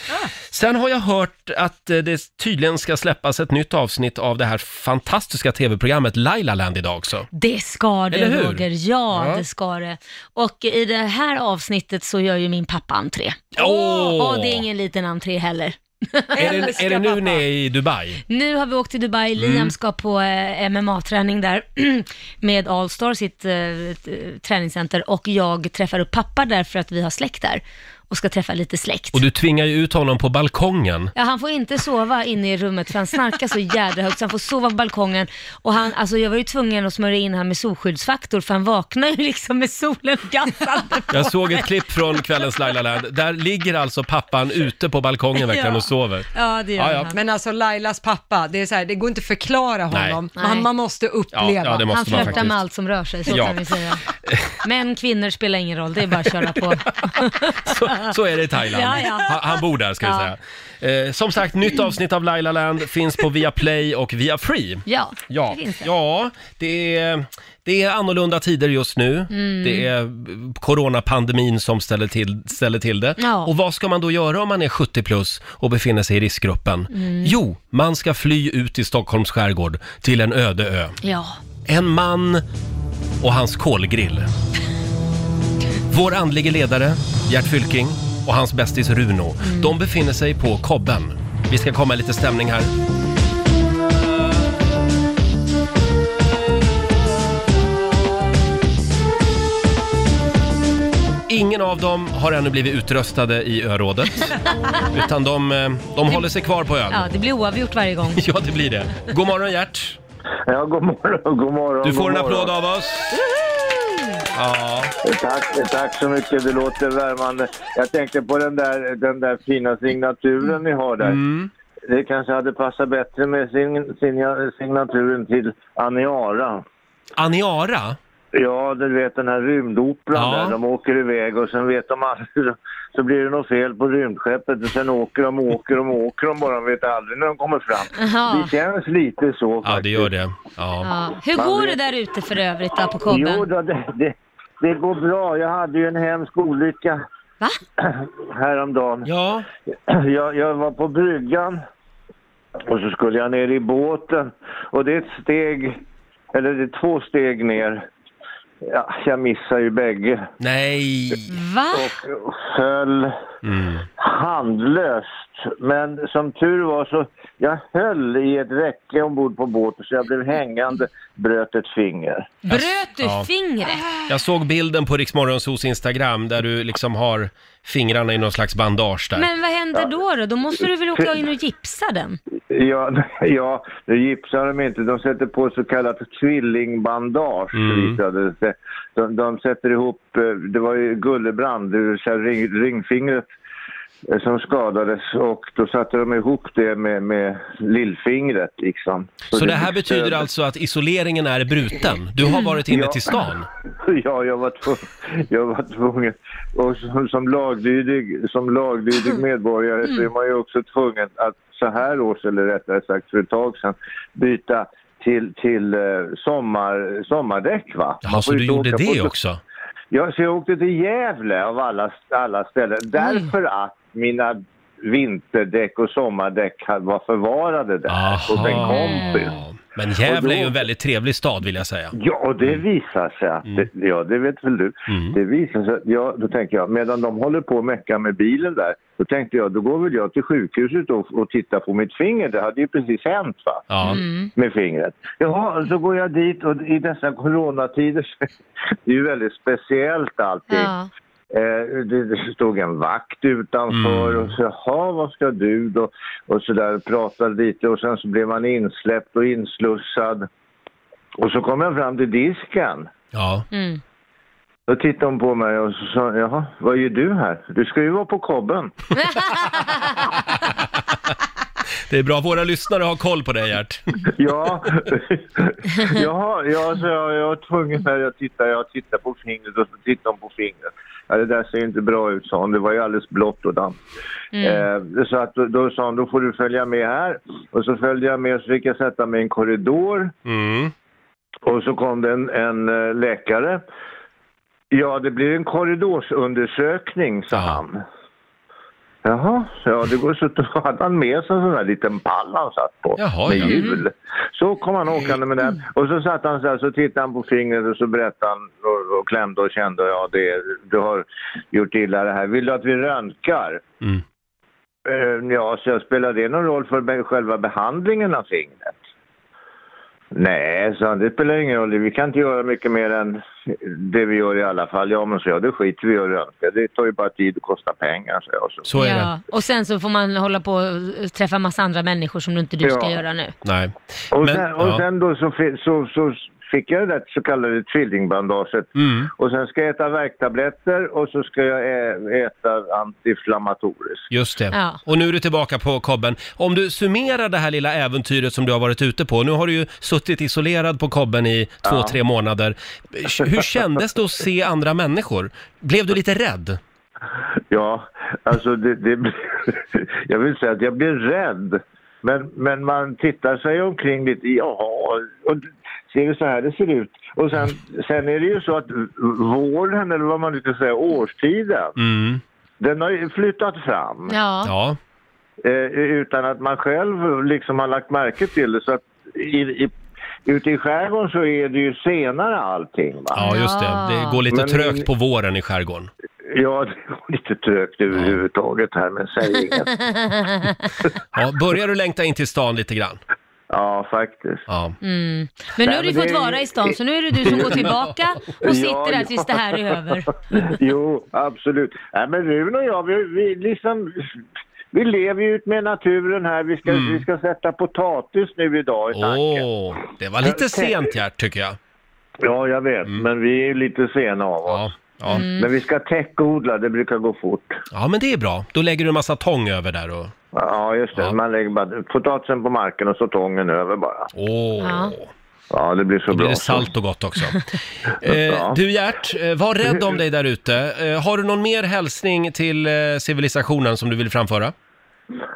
S1: Sen har jag hört att eh, det tydligen ska släppas ett nytt avsnitt av det här fantastiska tv-programmet Lailaland idag också.
S3: Det ska det,
S1: Eller hur?
S3: Roger. Ja,
S1: Ja.
S3: det ska det. Och i det här avsnittet så gör ju min pappa entré.
S1: Åh!
S3: Och det är ingen liten entré heller.
S1: Är det, är det nu
S2: pappa.
S1: ni är i Dubai?
S3: Nu har vi åkt till Dubai,
S1: Mm.
S3: Liam ska på eh, MMA-träning där [clears throat] med Allstar, sitt eh, t- träningscenter, och jag träffar upp pappa där för att vi har släkt där och ska träffa lite släkt.
S1: Och du tvingar ju ut honom på balkongen.
S3: Ja, han får inte sova inne i rummet för han snarkar så jädra högt så han får sova på balkongen. Och han, alltså jag var ju tvungen att smörja in han med solskyddsfaktor för han vaknar ju liksom med solen gassande på.
S1: Jag såg ett klipp från kvällens Laila Land. Där ligger alltså pappan ute på balkongen verkligen
S3: Ja.
S1: och sover.
S3: Ja, det gör
S1: Ja, ja.
S3: han.
S2: Men alltså Lailas pappa, det, är så här, det går inte att förklara
S1: Nej.
S2: honom.
S3: Nej.
S2: Man, man måste uppleva.
S1: Ja, ja, det måste-
S3: Han
S1: man
S3: flörtar
S1: faktiskt.
S3: med allt som rör sig, så
S1: Ja.
S3: kan vi säga. Män, kvinnor spelar ingen roll, det är bara att köra på.
S1: [laughs] [laughs] Så, så är det i Thailand.
S3: Ja, ja.
S1: Han, han bor där ska vi
S3: Ja.
S1: säga. Eh, som sagt, nytt avsnitt av Laila Land finns på Viaplay och via Free.
S3: Ja,
S1: Ja,
S3: det finns det.
S1: ja det, är, det är annorlunda tider just nu.
S3: Mm.
S1: Det är eh, coronapandemin som ställer till, ställer till det.
S3: Ja.
S1: Och vad ska man då göra om man är 70 plus och befinner sig i riskgruppen?
S3: Mm.
S1: Jo, man ska fly ut i Stockholms skärgård till en öde ö.
S3: Ja.
S1: En man och hans kolgrill. Vår andlige ledare, Gert Fylking, och hans bästis Runo. De befinner sig på Kobben. Vi ska komma i lite stämning här. Ingen av dem har ännu blivit utröstade i örådet. utan de, eh, de håller sig kvar på ön.
S3: ja, det blir oavgjort varje gång.
S1: [laughs] Ja, det blir det. God morgon Gert!
S7: Ja, god morgon, god morgon.
S1: Du får
S7: god
S1: en applåd
S7: morgon.
S1: av oss. Ja,
S7: Tack, tack så mycket, det låter värmande. Jag tänkte på den där, den där fina signaturen ni har där.
S1: Mm.
S7: Det kanske hade passat bättre med sin, sin, signaturen till Aniara.
S1: Aniara.
S7: Ja, du vet den här rymdoperan
S1: Ja.
S7: där, de åker iväg och sen vet de aldrig, [laughs] så blir det något fel på rymdskeppet och sen åker de, åker de, åker de bara, de vet aldrig när de kommer fram.
S3: Jaha.
S7: Det känns lite så
S1: Ja,
S7: faktiskt.
S1: det gör det. Ja.
S3: Ja. Hur går det där ute för övrigt då på
S7: Jo,
S3: kobben?
S7: då, det, det, det går bra. Jag hade ju en hemsk olycka
S3: Va?
S7: [clears throat] häromdagen.
S1: Ja.
S7: [clears throat] Jag, jag var på bryggan och så skulle jag ner i båten och det är ett steg, eller det är två steg ner. Ja, jag missade ju bägge
S1: Nej.
S3: Va?
S7: och föll
S1: Mm.
S7: handlöst. Men som tur var så jag höll i ett räcke ombord på båten så jag blev hängande, bröt ett finger.
S3: Bröt du
S1: Ja.
S3: fingret?
S1: Jag såg bilden på Riksmorgonsos Instagram där du liksom har fingrarna i någon slags bandage där.
S3: Men vad händer då då? Då måste du väl åka in och gipsa den?
S7: Ja, [laughs] ja, nu gipsar de inte. De sätter på så kallat tvillingbandage
S1: Mm.
S7: visade det sig. De, de sätter ihop, eh, det var ju Gullebrand, det vill säga ring, ringfingret eh, som skadades och då satte de ihop det med, med lillfingret liksom.
S1: Så det här
S7: fick
S1: betyder
S7: stöd.
S1: alltså att isoleringen är bruten? Du har varit inne
S7: Ja.
S1: till stan?
S7: [laughs] Ja, jag var, tvungen, jag var tvungen. Och som, som, laglydig, som
S1: Mm.
S7: laglydig medborgare så är man ju också tvungen att så här års, eller rättare sagt för ett tag sedan, byta till, till eh, sommar, sommardäck. Va?
S1: Jaha,
S7: Man
S1: så
S7: får
S1: du
S7: inte
S1: gjorde
S7: åka på-
S1: det också?
S7: Ja, så jag åkte till Gävle av alla, alla ställen. Därför att mina vinterdäck och sommardäck hade- var förvarade där hos en kompis.
S1: Aha. Men Gävle är ju
S7: Och
S1: en
S7: då-
S1: väldigt trevlig stad vill jag säga.
S7: Ja, och det visar sig att, det, ja det vet väl du,
S1: Mm.
S7: det visar sig, att- ja då tänker jag, medan de håller på och mecka med bilen där, då tänkte jag, då går väl jag till sjukhuset och, och tittar på mitt finger, det hade ju precis hänt va,
S1: Ja.
S3: Mm.
S7: med fingret. Jaha, så går jag dit och i dessa coronatider, så- [laughs] det är ju väldigt speciellt allting.
S3: Ja.
S7: Eh, det, det stod en vakt utanför och så jaha, vad ska du då? Och så där pratade lite och sen så blev man insläppt och inslussad. Och så kom jag fram till disken.
S1: Ja.
S3: Mm.
S7: Då tittade hon på mig och så sa jaha, vad gör du här? Du ska ju vara på kobben.
S1: Det är bra, våra lyssnare har koll på dig
S3: [laughs]
S1: Gert.
S7: ja, [laughs] jaha, ja, så jag, jag var tvungen när jag tittade, jag tittade på fingret och så tittade hon på fingret. Ja, det där ser ju inte bra ut, sa hon. Det var ju alldeles blått och damm. Eh, så att, då, då sa hon, då får du följa med här. Och så följde jag med och så fick jag sätta mig i en korridor.
S1: Mm.
S7: Och så kom det en, en eh, läkare. Ja, det blir en korridorsundersökning, sa
S1: Ja.
S7: han. Jaha, ja det går så [laughs] då hade han med sig en sån här liten pall han satt på
S1: Jaha,
S7: med
S1: ja.
S7: hjul. Så kom han åkande med den och så satt han så här så tittade han på fingret och så berättade han och, och klämde och kände ja det, du har gjort illa det här. Vill du att vi röntgar?
S1: Mm.
S7: Eh, Ja, så jag spelar det någon roll för be- själva behandlingen av fingret? Nej, så det spelar ingen roll. Vi kan inte göra mycket mer än det vi gör i alla fall. Ja, men så jag, det skiter vi i att röntga. Det tar ju bara tid och kostar pengar, så jag. Så.
S1: Så är det.
S3: ja. Och sen så får man hålla på och eh, träffa massa andra människor som du inte du ska
S7: Ja.
S3: göra nu.
S1: Nej.
S7: Och,
S1: Men-
S7: sen, och
S1: ja.
S7: sen då så, fi- så, så fick jag det där så kallade tvillingbandaget.
S1: Mm.
S7: Och sen ska jag äta värktabletter och så ska jag ä- äta antiinflammatoriskt.
S1: Just det.
S3: Ja.
S1: Och nu är du tillbaka på kobben. Om du summerar det här lilla äventyret som du har varit ute på. Nu har du ju suttit isolerad på kobben i två, tre månader. Hur kändes det att se andra människor? Blev du lite rädd?
S7: Ja, alltså det, det [laughs] Jag vill säga att jag blir rädd. Men, men man tittar sig omkring lite, jaha, och ser det så här det ser ut. Och sen, sen är det ju så att våren, eller vad man nu ska säga, årstiden,
S1: Mm.
S7: den har ju flyttat fram.
S3: Ja.
S1: Ja.
S7: Eh, utan att man själv liksom har lagt märke till det. Så att i, i, ute i skärgården så är det ju senare allting. Va?
S1: ja, just det. Det går lite
S7: Men-
S1: trögt på våren i skärgården.
S7: Ja, [laughs] det går lite trögt överhuvudtaget här, men säg inget.
S1: Ja, börjar du längta in till stan lite grann?
S7: Ja, faktiskt.
S1: Ja.
S3: Mm. Men nu har du
S7: men
S3: fått
S7: det är-
S3: vara i stan, så nu är det du som går
S7: [laughs]
S3: tillbaka och sitter där
S7: ja.
S3: tills det här är över.
S7: [laughs] Jo, absolut. Nej, men Rune och jag, vi, vi liksom... Vi lever ju ut med naturen här. Vi ska, vi ska sätta potatis nu idag i
S1: Mm. Åh,
S7: tanken.
S1: det var lite sent Gert, tycker jag.
S7: Ja, jag vet. Men vi är ju lite sena av oss.
S1: Ja, Mm. ja.
S3: Mm.
S7: Men vi ska täckodla, det brukar gå fort.
S1: ja, men det är bra. Då lägger du en massa tång över där och...
S7: Ja, just det.
S1: Ja.
S7: Man lägger bara potatisen på marken och så tången över bara.
S1: Åh.
S3: Ja.
S7: Ja, det blir så
S1: Då
S7: bra.
S1: blir det salt och gott också. Eh, du Gert, eh, var rädd om dig där ute. Eh, har du någon mer hälsning till eh, civilisationen som du vill framföra?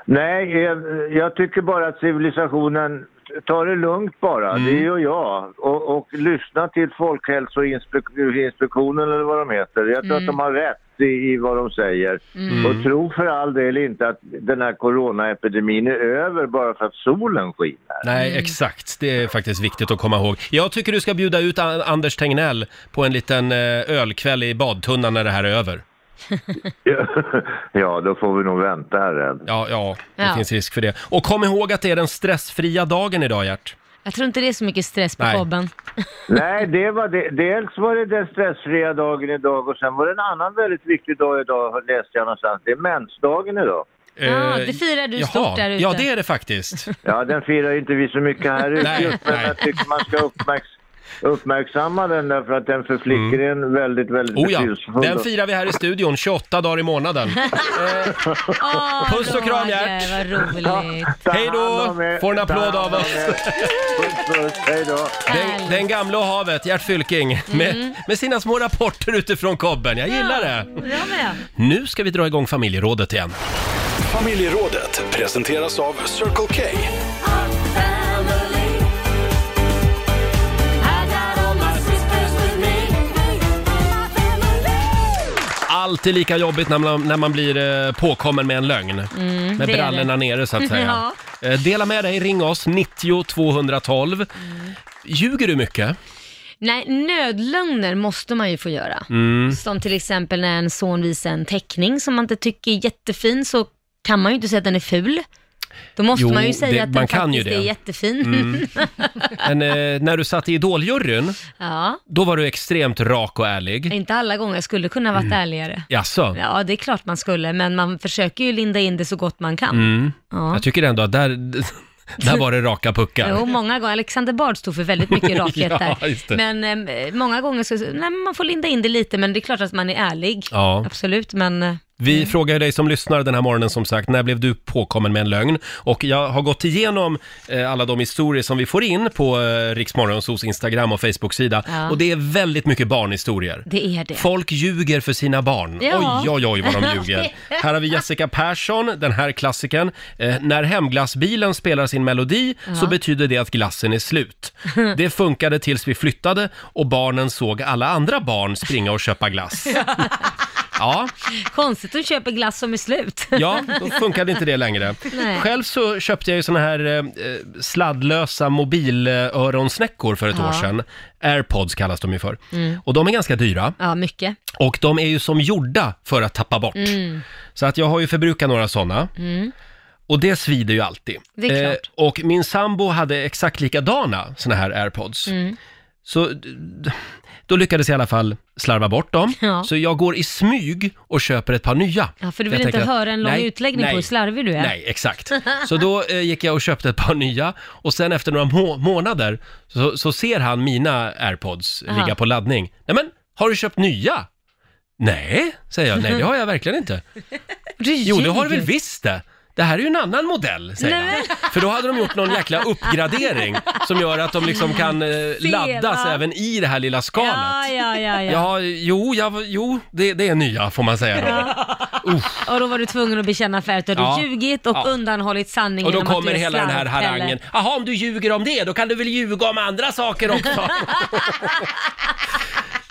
S7: Nej, jag, jag tycker bara att civilisationen, ta det lugnt bara, det gör jag. Och, och lyssna till Folkhälsoinspektionen eller vad de heter. Jag tror att de har rätt i, i vad de säger. Och tro för all del inte att den här coronaepidemin är över bara för att solen skiner. [laughs]
S1: Nej,
S3: Mm.
S1: exakt. Det är faktiskt viktigt att komma ihåg. Jag tycker du ska bjuda ut An- Anders Tegnell på en liten eh, ölkväll i badtunnan när det här är över.
S7: ja, då får vi nog vänta här än.
S1: Ja, ja, det
S3: Ja.
S1: finns risk för det. Och kom ihåg att det är den stressfria dagen idag, Gert.
S3: Jag tror inte det är så mycket stress på
S1: Nej.
S3: kobben.
S7: Nej, det var det. dels var det den stressfria dagen idag och sen var det en annan väldigt viktig dag idag, läste jag någonstans. Det är mensdagen idag.
S3: Ja,
S1: Eh,
S3: det firar du
S1: jaha.
S3: stort där ute.
S1: Ja, det är det
S3: [laughs]
S1: faktiskt.
S7: Ja, den firar ju inte vi så mycket här ute
S1: Nej,
S7: just, men
S1: nej.
S7: jag tycker man ska uppmärks uppmärksamma den därför att den för flickor är en väldigt, väldigt
S1: Mm. Oh ja,
S7: betydelsefull.
S1: den
S7: dag.
S1: firar vi här i studion 28 dagar i månaden.
S3: Åh,
S1: Puss och kram, Gert.
S3: Roger, Vad roligt.
S7: Ta
S1: Hej då!
S7: hand om er,
S1: Får en applåd
S7: ta hand
S1: av
S7: om
S1: oss.
S7: er. Puss, puss, hej då!
S1: Den, den gamla och havet, Gert Fylking,
S3: Mm.
S1: med, med sina små rapporter utifrån kobben. Jag gillar det.
S3: Jag med.
S1: Nu ska vi dra igång familjerådet igen.
S4: Familjerådet presenteras av Circle K.
S1: Alltid lika jobbigt när man, när man blir eh, påkommen med en lögn. med
S3: Mm, det är
S1: brallorna nere så att säga.
S3: [laughs] Ja.
S1: Eh, Dela med dig, ring oss, 90 212.
S3: Mm.
S1: Ljuger du mycket?
S3: Nej, nödlögner måste man ju få göra.
S1: Mm.
S3: Som till exempel när en son visar en teckning som man inte tycker är jättefin, så kan man ju inte säga att den är ful. Då måste
S1: Jo,
S3: man ju säga
S1: det-
S3: att
S1: man
S3: den
S1: kan ju
S3: faktiskt är
S1: det. Mm.
S3: jättefin.
S1: Men, eh, när du satt i Idoljuryn,
S3: [laughs] ja,
S1: då var du extremt rak och ärlig.
S3: inte alla gånger. Jag skulle kunna
S1: Mm.
S3: varit ärligare.
S1: Jaså?
S3: Ja, det är klart man skulle, men man försöker ju linda in det så gott man kan.
S1: Mm.
S3: Ja.
S1: Jag tycker ändå att där, [laughs] där var det raka puckar.
S3: Jo, många gånger. Alexander Bard stod för
S1: [laughs]
S3: väldigt mycket rakhet
S1: Ja, just det.
S3: där. Men eh, många gånger så, nej, men man får linda in det lite, men det är klart att man är ärlig.
S1: Ja.
S3: Absolut, men eh,
S1: Vi frågar ju dig som lyssnar den här morgonen som sagt, när blev du påkommen med en lögn? Och jag har gått igenom eh, alla de historier som vi får in på eh, Riksmorgonsos Instagram och Facebook-sida.
S3: Ja.
S1: Och det är väldigt mycket barnhistorier.
S3: det är det.
S1: Folk ljuger för sina barn.
S3: Ja.
S1: Oj, oj, oj vad de ljuger.
S3: [laughs]
S1: Här har vi Jessica Persson, den här klassikern. Eh, när hemglassbilen spelar sin melodi så betyder det att glassen är
S3: [laughs]
S1: slut. Det funkade tills vi flyttade och barnen såg alla andra barn springa och köpa
S3: [laughs]
S1: glass. Ja,
S3: Konstigt att köpa glass som är slut.
S1: Ja, då funkade inte det längre.
S3: Nej.
S1: Själv så köpte jag ju såna här eh, sladdlösa mobilöronsnäckor för ett
S3: Ja. Mm.
S1: år sedan. Airpods kallas de ju för. Och de är ganska dyra.
S3: [laughs] Ja, mycket.
S1: Och de är ju som gjorda för att tappa bort.
S3: Mm.
S1: Så att jag har ju förbrukat några sådana. Och det svider ju alltid. Eh,
S3: Det är klart.
S1: och min sambo hade exakt likadana såna här airpods.
S3: Mm.
S1: Så d- d- då lyckades jag i alla fall slarva bort dem.
S3: Ja.
S1: Så jag går i smyg och köper ett par nya.
S3: Ja, för
S1: Jag
S3: du vill inte
S1: tänker att-
S3: höra en lång
S1: nej,
S3: utläggning
S1: nej,
S3: på hur slarvig du är.
S1: Nej, exakt. Så då eh, gick jag och köpte ett par nya och sen efter några må- månader så, så ser han mina airpods
S3: Aha.
S1: ligga på laddning. Nej men, har du köpt nya? Nej, säger jag. Nej, det har jag verkligen inte.
S3: [laughs] Du
S1: Jo, det har du väl
S3: ljuger.
S1: visst det. Det här är ju en annan modell, säger
S3: Nej,
S1: han. För då hade de gjort någon jäkla uppgradering som gör att de liksom kan eh, laddas
S3: va?
S1: även i det här lilla skalet.
S3: Ja, ja, ja, ja.
S1: Ja, jo, ja, jo det, det är nya får man säga då.
S3: Och då var du tvungen att bekänna färg. Du hade
S1: Ja.
S3: ljugit och
S1: Ja.
S3: undanhållit sanningen
S1: Och då
S3: om att du
S1: kommer
S3: är
S1: hela den här
S3: slarvpelle.
S1: harangen. Jaha, om du ljuger om det, då kan du väl ljuga om andra saker
S3: [laughs]
S1: också?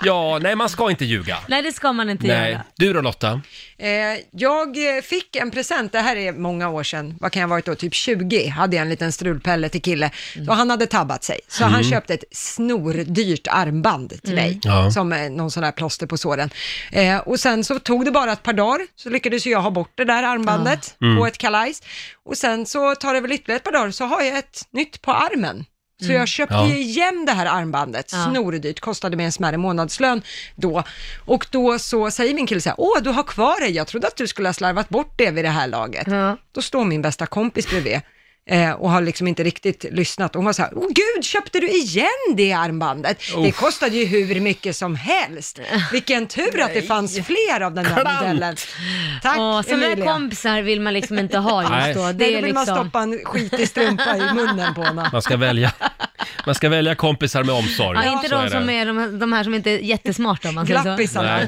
S1: ja, nej man ska inte ljuga.
S3: Nej, det ska man inte
S1: Nej.
S3: göra.
S1: Du då Lotta?
S2: Eh, jag eh, fick en present, det här är många år sedan, vad kan jag ha varit då, typ 20, hade jag en liten strulpelle till kille.
S1: Mm.
S2: Och han hade tabbat sig, så han köpte ett snordyrt armband till mig,
S1: Mm. Ja.
S2: som eh, någon sån här plåster på såren. Eh, och sen så tog det bara ett par dagar, så lyckades ju jag ha bort det där armbandet
S1: Mm.
S2: på ett kalajs. Och sen så tar det väl ytterligare ett par dagar, så har jag ett nytt på armen. Så jag köpte
S1: Mm. Ja.
S2: ju igen det här armbandet,
S3: Ja.
S2: snordyrt, kostade mig en smärre månadslön då. Och då så säger min kille så här, åh du har kvar det, jag trodde att du skulle ha slarvat bort det vid det här laget.
S3: Ja.
S2: Då står min bästa kompis bredvid eh, och har liksom inte riktigt lyssnat. Och Hon var så här, åh gud, köpte du igen det armbandet? Det
S1: Uff.
S2: kostade ju hur mycket som helst. Vilken tur att det fanns fler av den där
S1: Klant.
S2: modellen. Tack
S3: Åh, sådana där
S2: Emilia.
S3: kompisar vill man liksom inte ha
S1: Nej.
S3: just då. Det
S2: Nej,
S3: är
S2: då vill man
S3: liksom... [laughs]
S2: stoppa en skitig strumpa i munnen på honom.
S1: Man ska välja, Man ska välja kompisar med omsorg.
S3: Ja, inte
S1: Så
S3: de
S1: det.
S3: som är de, de här som inte är jättesmarta om man säger så.
S2: Glappisarna.
S1: Nej.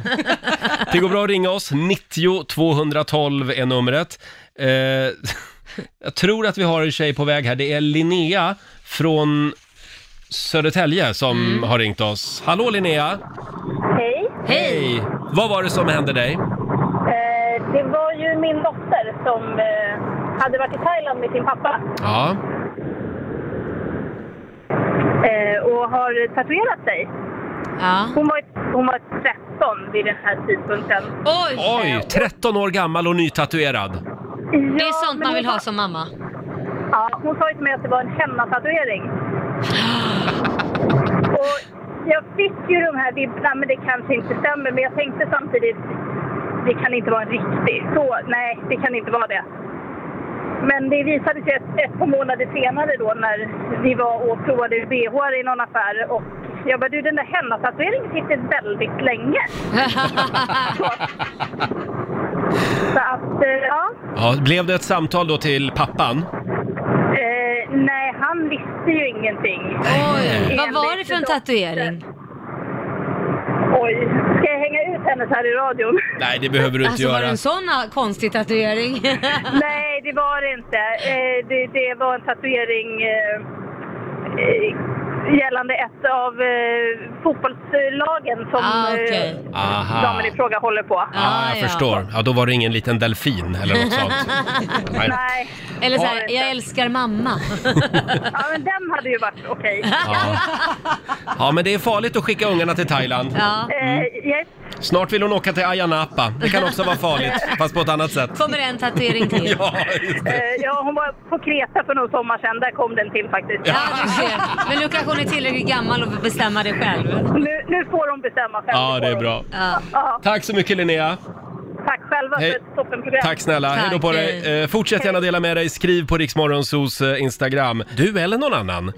S1: Det går bra att ringa oss. 90 212 är numret. Eh, [laughs] jag tror att vi har en tjej på väg här. Det är Linnea från Södertälje som
S3: Mm.
S1: har ringt oss. Hallå Linnea!
S6: Hej.
S1: Hej! Vad var det som hände dig?
S6: Eh, det var ju min dotter som eh, hade varit i Thailand med sin pappa
S1: Ja,
S6: eh, och har tatuerat sig.
S3: Ja.
S6: Hon var, hon var 13 vid den här tidpunkten.
S3: Oj!
S1: oj, 13 år gammal och nytatuerad.
S3: Det är sånt man vill ha som mamma.
S6: Ja, hon sa ju till mig att det var en henna-tatuering. [gasps] och jag fick ju de här vibbarna, men det kanske inte stämmer. Men jag tänkte samtidigt, det kan inte vara en riktig. Så nej, det kan inte vara det. Men det visade sig ett, ett par månader senare då när vi var och provade bh i någon affär och jag bara, du den där henna-tatueringen sitter väldigt länge. Så att, eh, ja.
S1: Ja, blev det ett samtal då till pappan?
S6: Eh, nej, han visste ju ingenting.
S3: Oj, vad var det för en
S6: Enligt
S3: tatuering?
S6: Oj, ska jag hänga ut henne så här i
S3: [laughs]
S6: radion?
S1: Nej, det behöver du inte
S3: Alltså var det
S1: göra.
S3: en sån här konstig tatuering? [laughs]
S6: Nej, det var det inte. Eh, det, det var en tatuering eh, eh, gällande ett av eh, fotbollslagen som
S3: Ah, okej.
S6: eh,
S1: Aha.
S6: damen i fråga håller på.
S1: Ja,
S3: Ah, ja.
S1: jag förstår. Ja, då var det ingen liten delfin eller något
S3: [laughs]
S1: sånt. Nej.
S6: Nej,
S3: Eller så här, jag älskar mamma.
S6: ja, men den hade ju varit
S3: [laughs]
S6: okej.
S1: Ja. ja, men det är farligt att skicka ungarna till Thailand.
S3: Ja.
S6: Eh, yes.
S1: Snart vill hon åka till Ayia Napa. Det kan också vara farligt, fast på ett annat
S3: [laughs]
S1: sätt.
S3: Kommer det en tatuering till?
S1: [laughs] Ja, just det.
S6: eh, ja, hon var på Kreta för någon sommar sedan. Där kom den till faktiskt.
S3: Ja, du ser. Men nu kanske hon är tillräckligt gammal och får bestämma det själv.
S6: Nu, nu får hon bestämma själv.
S1: Ja, det är
S6: får hon.
S1: bra.
S3: Ja.
S6: Ja,
S1: Tack så mycket Linnea.
S6: tack själva
S1: Hej.
S6: för ett toppenprogram.
S1: Tack snälla.
S3: Tack.
S1: Hej då på dig. Eh, fortsätt gärna dela med dig. Skriv på Riksmorgonsos eh, Instagram. Du eller någon annan.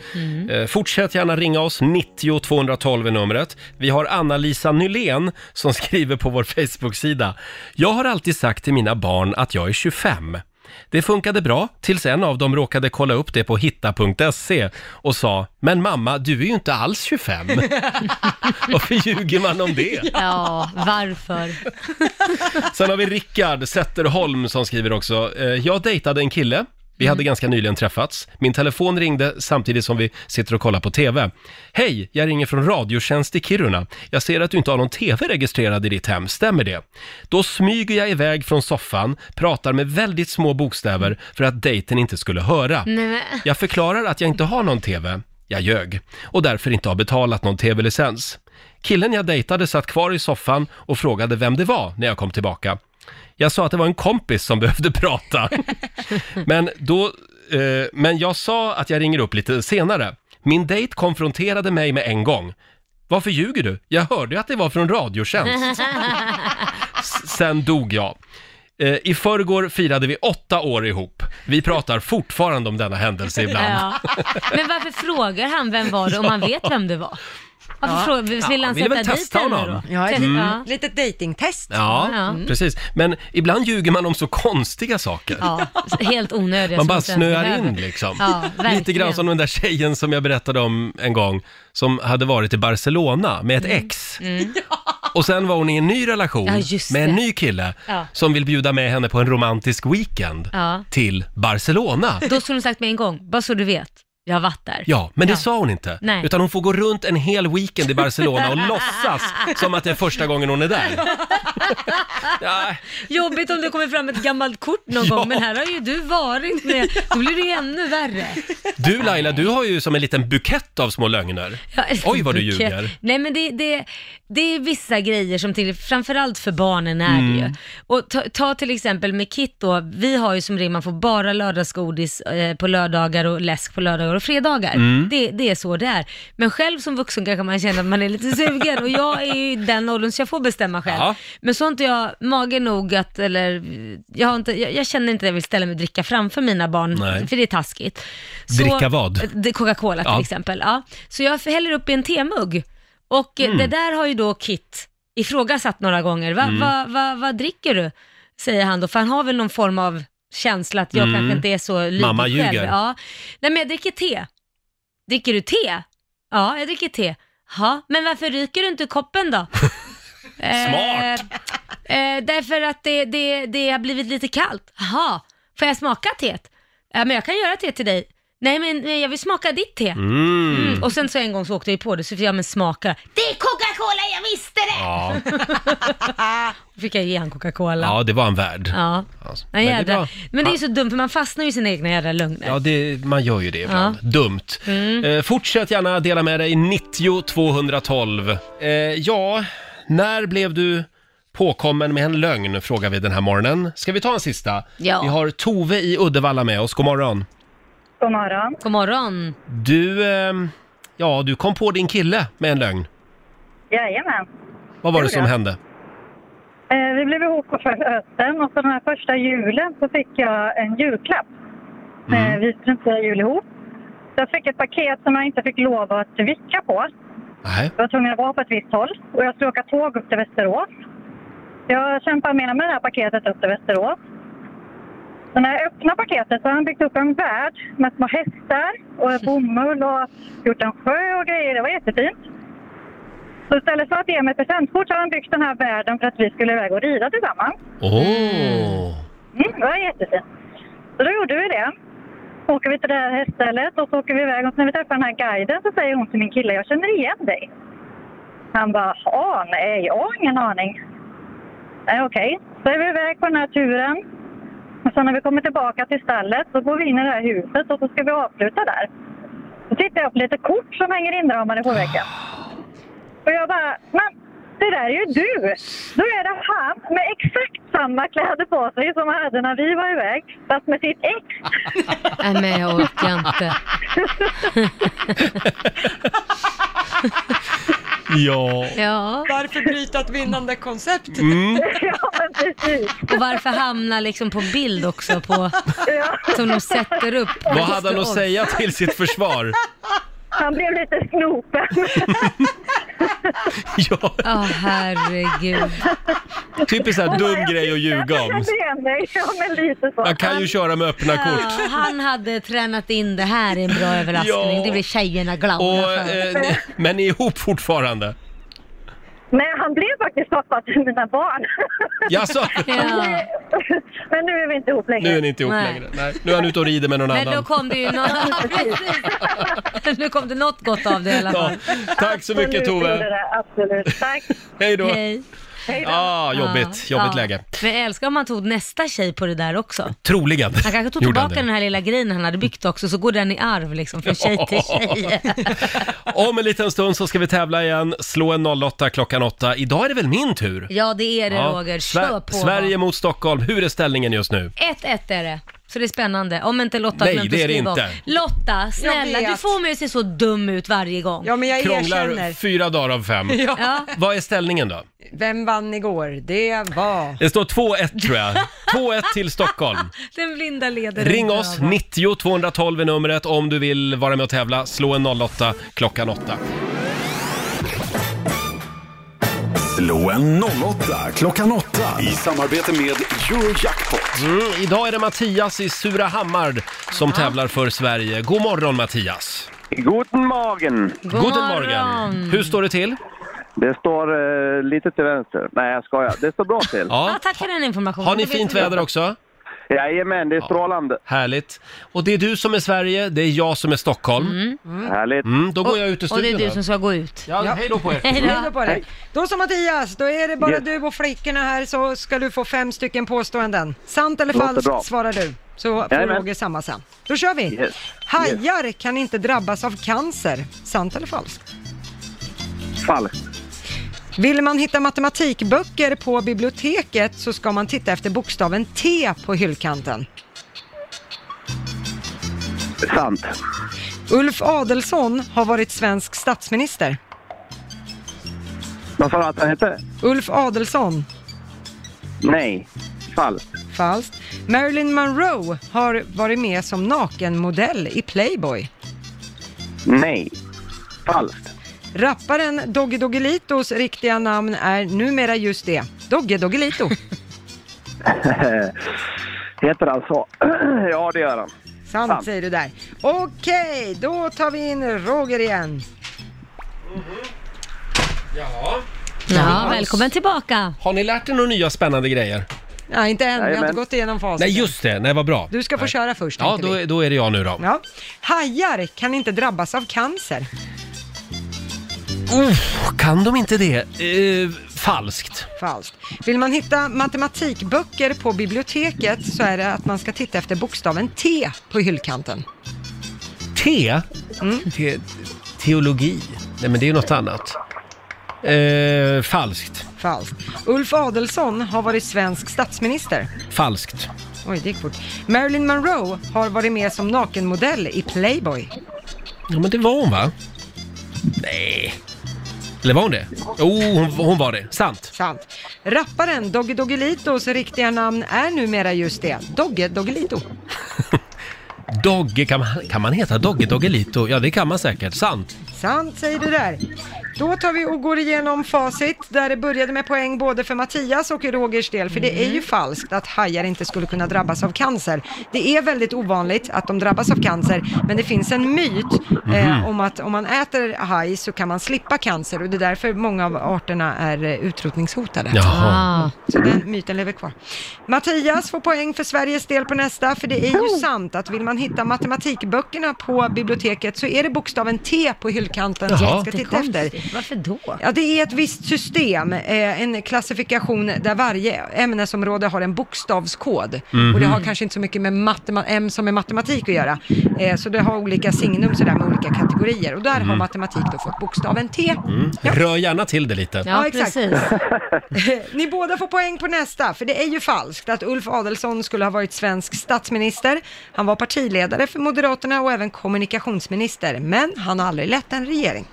S1: Eh, fortsätt gärna ringa oss. 90 212 är numret. Vi har Anna-Lisa Nylén som skriver på vår Facebook-sida. Jag har alltid sagt till mina barn att jag är 25. Det funkade bra tills en av dem råkade kolla upp det på hitta.se och sa “Men mamma, du är ju inte alls [laughs] 25”. Varför ljuger man om det?
S3: Ja, varför?
S1: Sen har vi Rickard Zetterholm som skriver också. eh, Jag dejtade en kille. Vi hade ganska nyligen träffats. Min telefon ringde samtidigt som vi sitter och kollar på TV. Hej, jag ringer från Radiotjänst i Kiruna. Jag ser att du inte har någon TV registrerad i ditt hem, stämmer det? Då smyger jag iväg från soffan, pratar med väldigt små bokstäver för att dejten inte skulle höra.
S3: Nej, men-
S1: Jag förklarar att jag inte har någon TV. Jag ljög och därför inte har betalat någon TV-licens. Killen jag dejtade satt kvar i soffan och frågade vem det var när jag kom tillbaka. Jag sa att det var en kompis som [laughs] behövde prata. Men, då, eh, men jag sa att jag ringer upp lite senare. Min dejt konfronterade mig med en gång. Varför ljuger du? Jag hörde ju att det var från Radiotjänst. S- Sen dog jag. Eh, I förrgår firade vi åtta år ihop. Vi pratar fortfarande om denna händelse ibland.
S3: Ja. Men varför frågar han vem var det om han vet vem det var? Varför frågar, vill han
S1: vill
S3: sätta
S1: väl
S3: dit
S1: testa
S3: henne
S1: honom.
S3: då?
S2: Ja, ett
S3: Testa.
S2: litet datingtest.
S1: Ja,
S3: Ja.
S1: precis. Men ibland ljuger man om så konstiga saker.
S3: Ja, helt onödiga.
S1: Man
S3: som
S1: bara
S3: inte ens
S1: snöar
S3: behöver.
S1: in liksom.
S3: Ja,
S1: Lite
S3: verkligen.
S1: grann som den där tjejen som jag berättade om en gång, som hade varit i Barcelona med ett ex. Och sen var hon i en ny relation
S3: Mm. Ja, just
S1: med en
S3: det.
S1: ny kille
S3: Ja.
S1: som vill bjuda med henne på en romantisk weekend
S3: Ja.
S1: till Barcelona.
S3: Då skulle hon sagt med en gång, bara så du vet, jag har varit där.
S1: Ja, men det sa hon inte.
S3: Nej.
S1: Utan hon får gå runt en hel weekend i Barcelona
S3: [laughs]
S1: och låtsas som att det är första gången hon är där. Ja,
S3: Jobbigt om det kommer fram ett gammalt kort
S1: [laughs]
S3: någon
S1: Ja.
S3: gång, men här har ju du varit med. Då blir det ju ännu värre.
S1: Du Laila, du har ju som en liten bukett av små lögner.
S3: Ja,
S1: Oj, vad du
S3: okej.
S1: ljuger.
S3: Nej men det, det, det är vissa grejer som till, framförallt för barnen är det
S1: Mm.
S3: ju. Och ta, ta till exempel med Kit då, vi har ju som regel, man får bara lördagsgodis eh, på lördagar och läsk på lördagar och fredagar.
S1: Mm.
S3: Det, det är så det är. Men själv som vuxen kanske man känner att man är lite sugen och jag är ju i den åldern så jag får bestämma själv.
S1: Ja.
S3: Men så har inte jag mage nog att, eller jag, har inte, jag, jag känner inte att jag vill ställa mig och dricka framför mina barn,
S1: Nej.
S3: för det är taskigt.
S1: Dricka vad?
S3: Det- Coca-Cola till
S1: Ja.
S3: exempel. Ja. Så jag häller upp i en temugg och eh,
S1: Mm.
S3: det där har ju då Kit ifrågasatt några gånger. Va,
S1: Mm.
S3: va, va, vad dricker du? Säger han då, för han har väl någon form av känsla att jag kanske inte är så lydig
S1: Mm. Mamma
S3: själv.
S1: ljuger.
S3: Ja. Nej men jag dricker te. Dricker du te? Ja, jag dricker te. Ha, men varför ryker du inte ur koppen då?
S1: [laughs] Smart.
S3: Eh, eh, därför att det, det, det har blivit lite kallt. Jaha, får jag smaka teet? Ja, men jag kan göra te till dig. Nej, men eh, jag vill smaka ditt te.
S1: Mm.
S3: Mm. Och sen så en gång så åkte jag ju på det, så fick jag men smaka. Det är Coca-Cola, jag visste det!
S1: Ja.
S3: Då fick jag ge han Coca-Cola. Ja.
S1: ja, det var en värld.
S3: ja.
S1: Alltså, men
S3: Nej,
S1: det är
S3: jädra.
S1: bra.
S3: Men det är ju så dumt, för man fastnar ju i sina egna jädra lögner.
S1: Ja, det, man gör ju det ibland. Dumt.
S3: Mm.
S1: Eh, fortsätt gärna dela med dig, 90 212. Eh, ja, när blev du påkommen med en lögn, frågar vi den här morgonen. Ska vi ta en sista?
S3: Ja.
S1: Vi har Tove i Uddevalla med oss, god morgon.
S6: God morgon.
S3: God morgon.
S1: Du, ehm, ja, du kom på din kille med en lögn.
S6: Jajamän.
S1: Vad var det
S6: Gjorde
S1: som
S6: jag?
S1: hände?
S6: Eh, vi blev ihop på förra hösten och på den här första julen så fick jag en julklapp. Eh, vi skulle inte fira jul ihop. Så jag fick ett paket som jag inte fick lov att vicka på.
S1: Nej.
S6: Jag var tvungen att vara på ett visst håll och jag skulle åka tåg upp till Västerås. Jag kämpar med mig det här paketet upp till Västerås. Så när jag öppnar paketet så har han byggt upp en värld med små hästar och bomull och gjort en sjö och grejer. Det var jättefint. Så istället för att ge mig ett presentkort så har han byggt den här världen för att vi skulle iväg och rida tillsammans.
S1: Åh!
S6: Mm, det var jättefint. Så då gjorde vi det. Så åker vi till det här häststället och så åker vi iväg och när vi träffar den här guiden så säger hon till min kille, jag känner igen dig. Han bara, ja, nej, jag har ingen aning. Nej, okej. Så är vi iväg på den här turen. Och sen när vi kommer tillbaka till stallet så går vi in i det här huset och så ska vi avsluta där. Då tittar jag på lite kort som hänger inramade på väggen. Och jag bara, men det där är ju du! Då är det han med exakt samma kläder på sig som han hade när vi var iväg, fast med sitt
S1: [laughs]
S6: ex.
S3: Nej, men jag orkar [laughs] inte.
S1: Ja.
S3: Ja.
S2: Varför bryta ett vinnande koncept?
S7: Mm.
S6: ja, men precis.
S3: Och varför hamna liksom på bild också på,
S6: Ja.
S3: som de sätter upp.
S1: Vad hade han att säga till sitt
S3: [laughs]
S1: försvar?
S6: Han blev lite snopen.
S1: Ja,
S3: Ja, herregud.
S1: typiskt såhär dum grej att ljuga om.
S6: Jag kände igen dig. Ja, men lite så.
S1: Man kan ju köra med öppna kort.
S3: Ja, han hade tränat in det här i en bra överraskning.
S1: Ja.
S3: Det blir tjejerna glada
S1: Och,
S3: för.
S1: eh, ni- men ni är ihop fortfarande?
S6: Nej, han blev faktiskt pappa till mina barn.
S1: Jaså?
S3: Ja.
S6: [laughs] men nu är vi inte ihop längre.
S1: Ah. Nu är ni inte ihop
S3: Nej.
S1: längre. Nej. Nu är han ute och rider med någon
S3: Men då
S1: annan.
S3: kom det
S1: [laughs]
S3: ju något, precis. Nu kom det något gott av det i alla
S1: Ja.
S3: fall.
S1: Tack så
S6: nu
S1: mycket
S6: gjorde
S1: Tove.
S6: det, Absolut. Tack.
S1: Hej då.
S3: Hej.
S1: Ah, jobbigt.
S3: Ja.
S1: Jobbigt
S3: Ja.
S1: läge.
S3: Men jag älskar om han tog nästa tjej på det där också.
S1: Troligen.
S3: Han kanske tog
S1: Gjorde han
S3: tillbaka den
S1: det.
S3: här lilla grejen han hade byggt också, så går den i arv liksom från tjej till tjej.
S1: Om en liten stund så ska vi tävla igen. Slå en 08 klockan 8. Idag är det väl min tur?
S3: Ja, det är det
S1: Ja.
S3: Roger.
S1: Sve-
S3: Kör på.
S1: Sverige mot Stockholm. Hur är ställningen just nu?
S3: 1-1 är det. Så det är spännande. Om inte Lotta
S1: Nej,
S3: glömt
S1: det
S3: att
S1: är det
S3: skriva om.
S1: inte.
S3: Lotta, snälla,
S2: vet.
S3: du får mig att se så dum ut varje gång.
S2: Ja, men jag
S1: Krånglar
S2: erkänner.
S1: fyra dagar av fem.
S3: Ja.
S1: Vad är ställningen då?
S2: Vem vann igår? Det var...
S1: Det står 2-1 tror jag.
S3: [laughs]
S1: 2-1 till Stockholm.
S3: Den blinda leder.
S1: Ring
S3: inte
S1: oss,
S3: över.
S1: 90 212 är numret om du vill vara med och tävla. Slå en 08 klockan 8.
S4: Slå en 08 klockan 8 i samarbete med Eurojackpot.
S1: Mm, idag är det Mattias i Surahammar som tävlar för Sverige. God morgon Mattias!
S7: Guten Morgen!
S3: God morgon.
S1: morgon! Hur står det till?
S7: Det står eh, lite till vänster. Nej, jag skojar. Det står bra till.
S3: Ja, tack för den informationen.
S1: Har ni
S3: Det vet
S1: fint
S3: vi.
S1: väder också?
S7: Jajamän, det är strålande.
S1: Härligt. Och det är du som är Sverige, det är jag som är Stockholm. Mm,
S7: Härligt.
S1: då går jag ut ur
S3: Och det
S1: studion.
S3: är du
S1: då.
S3: som ska gå ut.
S1: Ja, hej då på er!
S3: Hej
S2: Hej då
S3: då.
S2: på dig. Då så Mattias, då är det bara
S7: Yes.
S2: du och flickorna här så ska du få fem stycken påståenden. Sant eller
S7: Låter bra.
S2: falskt svarar du. Så får
S7: Jajamän.
S2: Roger samma sen. Då kör vi.
S7: Yes.
S2: Hajar kan inte drabbas av cancer. Sant eller falskt?
S7: Falskt.
S2: Vill man hitta matematikböcker på biblioteket så ska man titta efter bokstaven T på hyllkanten.
S7: Sant.
S2: Ulf Adelsohn har varit svensk statsminister.
S7: Vad sa du att han hette?
S2: Ulf Adelsohn,
S7: Nej. Falskt.
S2: falskt. Marilyn Monroe har varit med som nakenmodell i Playboy.
S7: Nej. Falskt. [laughs]
S2: Rapparen Doggy Doggelitos riktiga namn är numera just det, Doggy Doggelito.
S7: Heter han så? ja, det gör han.
S2: Sant
S7: Sant.
S2: säger du där. Okej, då tar vi in Roger igen.
S1: Jaha.
S3: Ja, välkommen tillbaka.
S1: Har ni lärt er några nya spännande grejer?
S2: Nej, inte än. Vi har
S7: Jajamän.
S2: inte gått igenom fasen.
S1: Nej, just det. Nej, vad bra.
S2: Du ska få
S1: Nej.
S2: köra först.
S1: Ja,
S2: tänkte
S1: då,
S2: vi.
S1: då är det jag nu då.
S2: ja. Hajar kan inte drabbas av cancer.
S1: Uff, kan de inte det? Eh, falskt.
S2: Falskt. Vill man hitta matematikböcker på biblioteket så är det att man ska titta efter bokstaven T på hyllkanten.
S1: Te? te teologi? Nej, men det är ju något annat. Eh, falskt.
S2: Falskt. Ulf Adelsohn har varit svensk statsminister.
S1: Falskt.
S2: Oj, det gick fort. Marilyn Monroe har varit med som nakenmodell i Playboy.
S1: Ja, men det var hon, va? Nej. Eller var hon det? Jo, hon, hon var det. Sant.
S2: Sant. Rapparen Dogge Doggelitos riktiga namn är numera just det, Dogge Doggelito.
S1: Dogge, kan man, kan man heta Dogge Doggelito? Ja, det kan man säkert. Sant.
S2: Sant säger du där. Då tar vi och går igenom facit där det började med poäng både för Mattias och Rogers del. För det är ju falskt att hajar inte skulle kunna drabbas av cancer. Det är väldigt ovanligt att de drabbas av cancer, men det finns en myt eh, om att om man äter haj så kan man slippa cancer och det är därför många av arterna är eh, utrotningshotade.
S1: Jaha.
S3: Ah.
S2: Så den myten lever kvar. Mattias får poäng för Sveriges del på nästa, för det är ju sant att vill man hitta matematikböckerna på biblioteket så är det bokstaven T på hyllkanten som
S1: Jaha.
S2: man ska titta efter.
S3: Jättekonstigt. Varför då?
S2: Ja, det är ett visst system, eh, en klassifikation där varje ämnesområde har en bokstavskod. Och det har kanske inte så mycket med matema- M som är matematik att göra. Eh, så det har olika signum sådär med olika kategorier. Och där har matematik då fått bokstaven T.
S1: Rör gärna till det lite.
S3: Ja,
S2: Ja, exakt.
S3: precis.
S2: [laughs] Ni båda får poäng på nästa, för det är ju falskt att Ulf Adelsohn skulle ha varit svensk statsminister. Han var partiledare för Moderaterna och även kommunikationsminister, men han har aldrig lett en regering.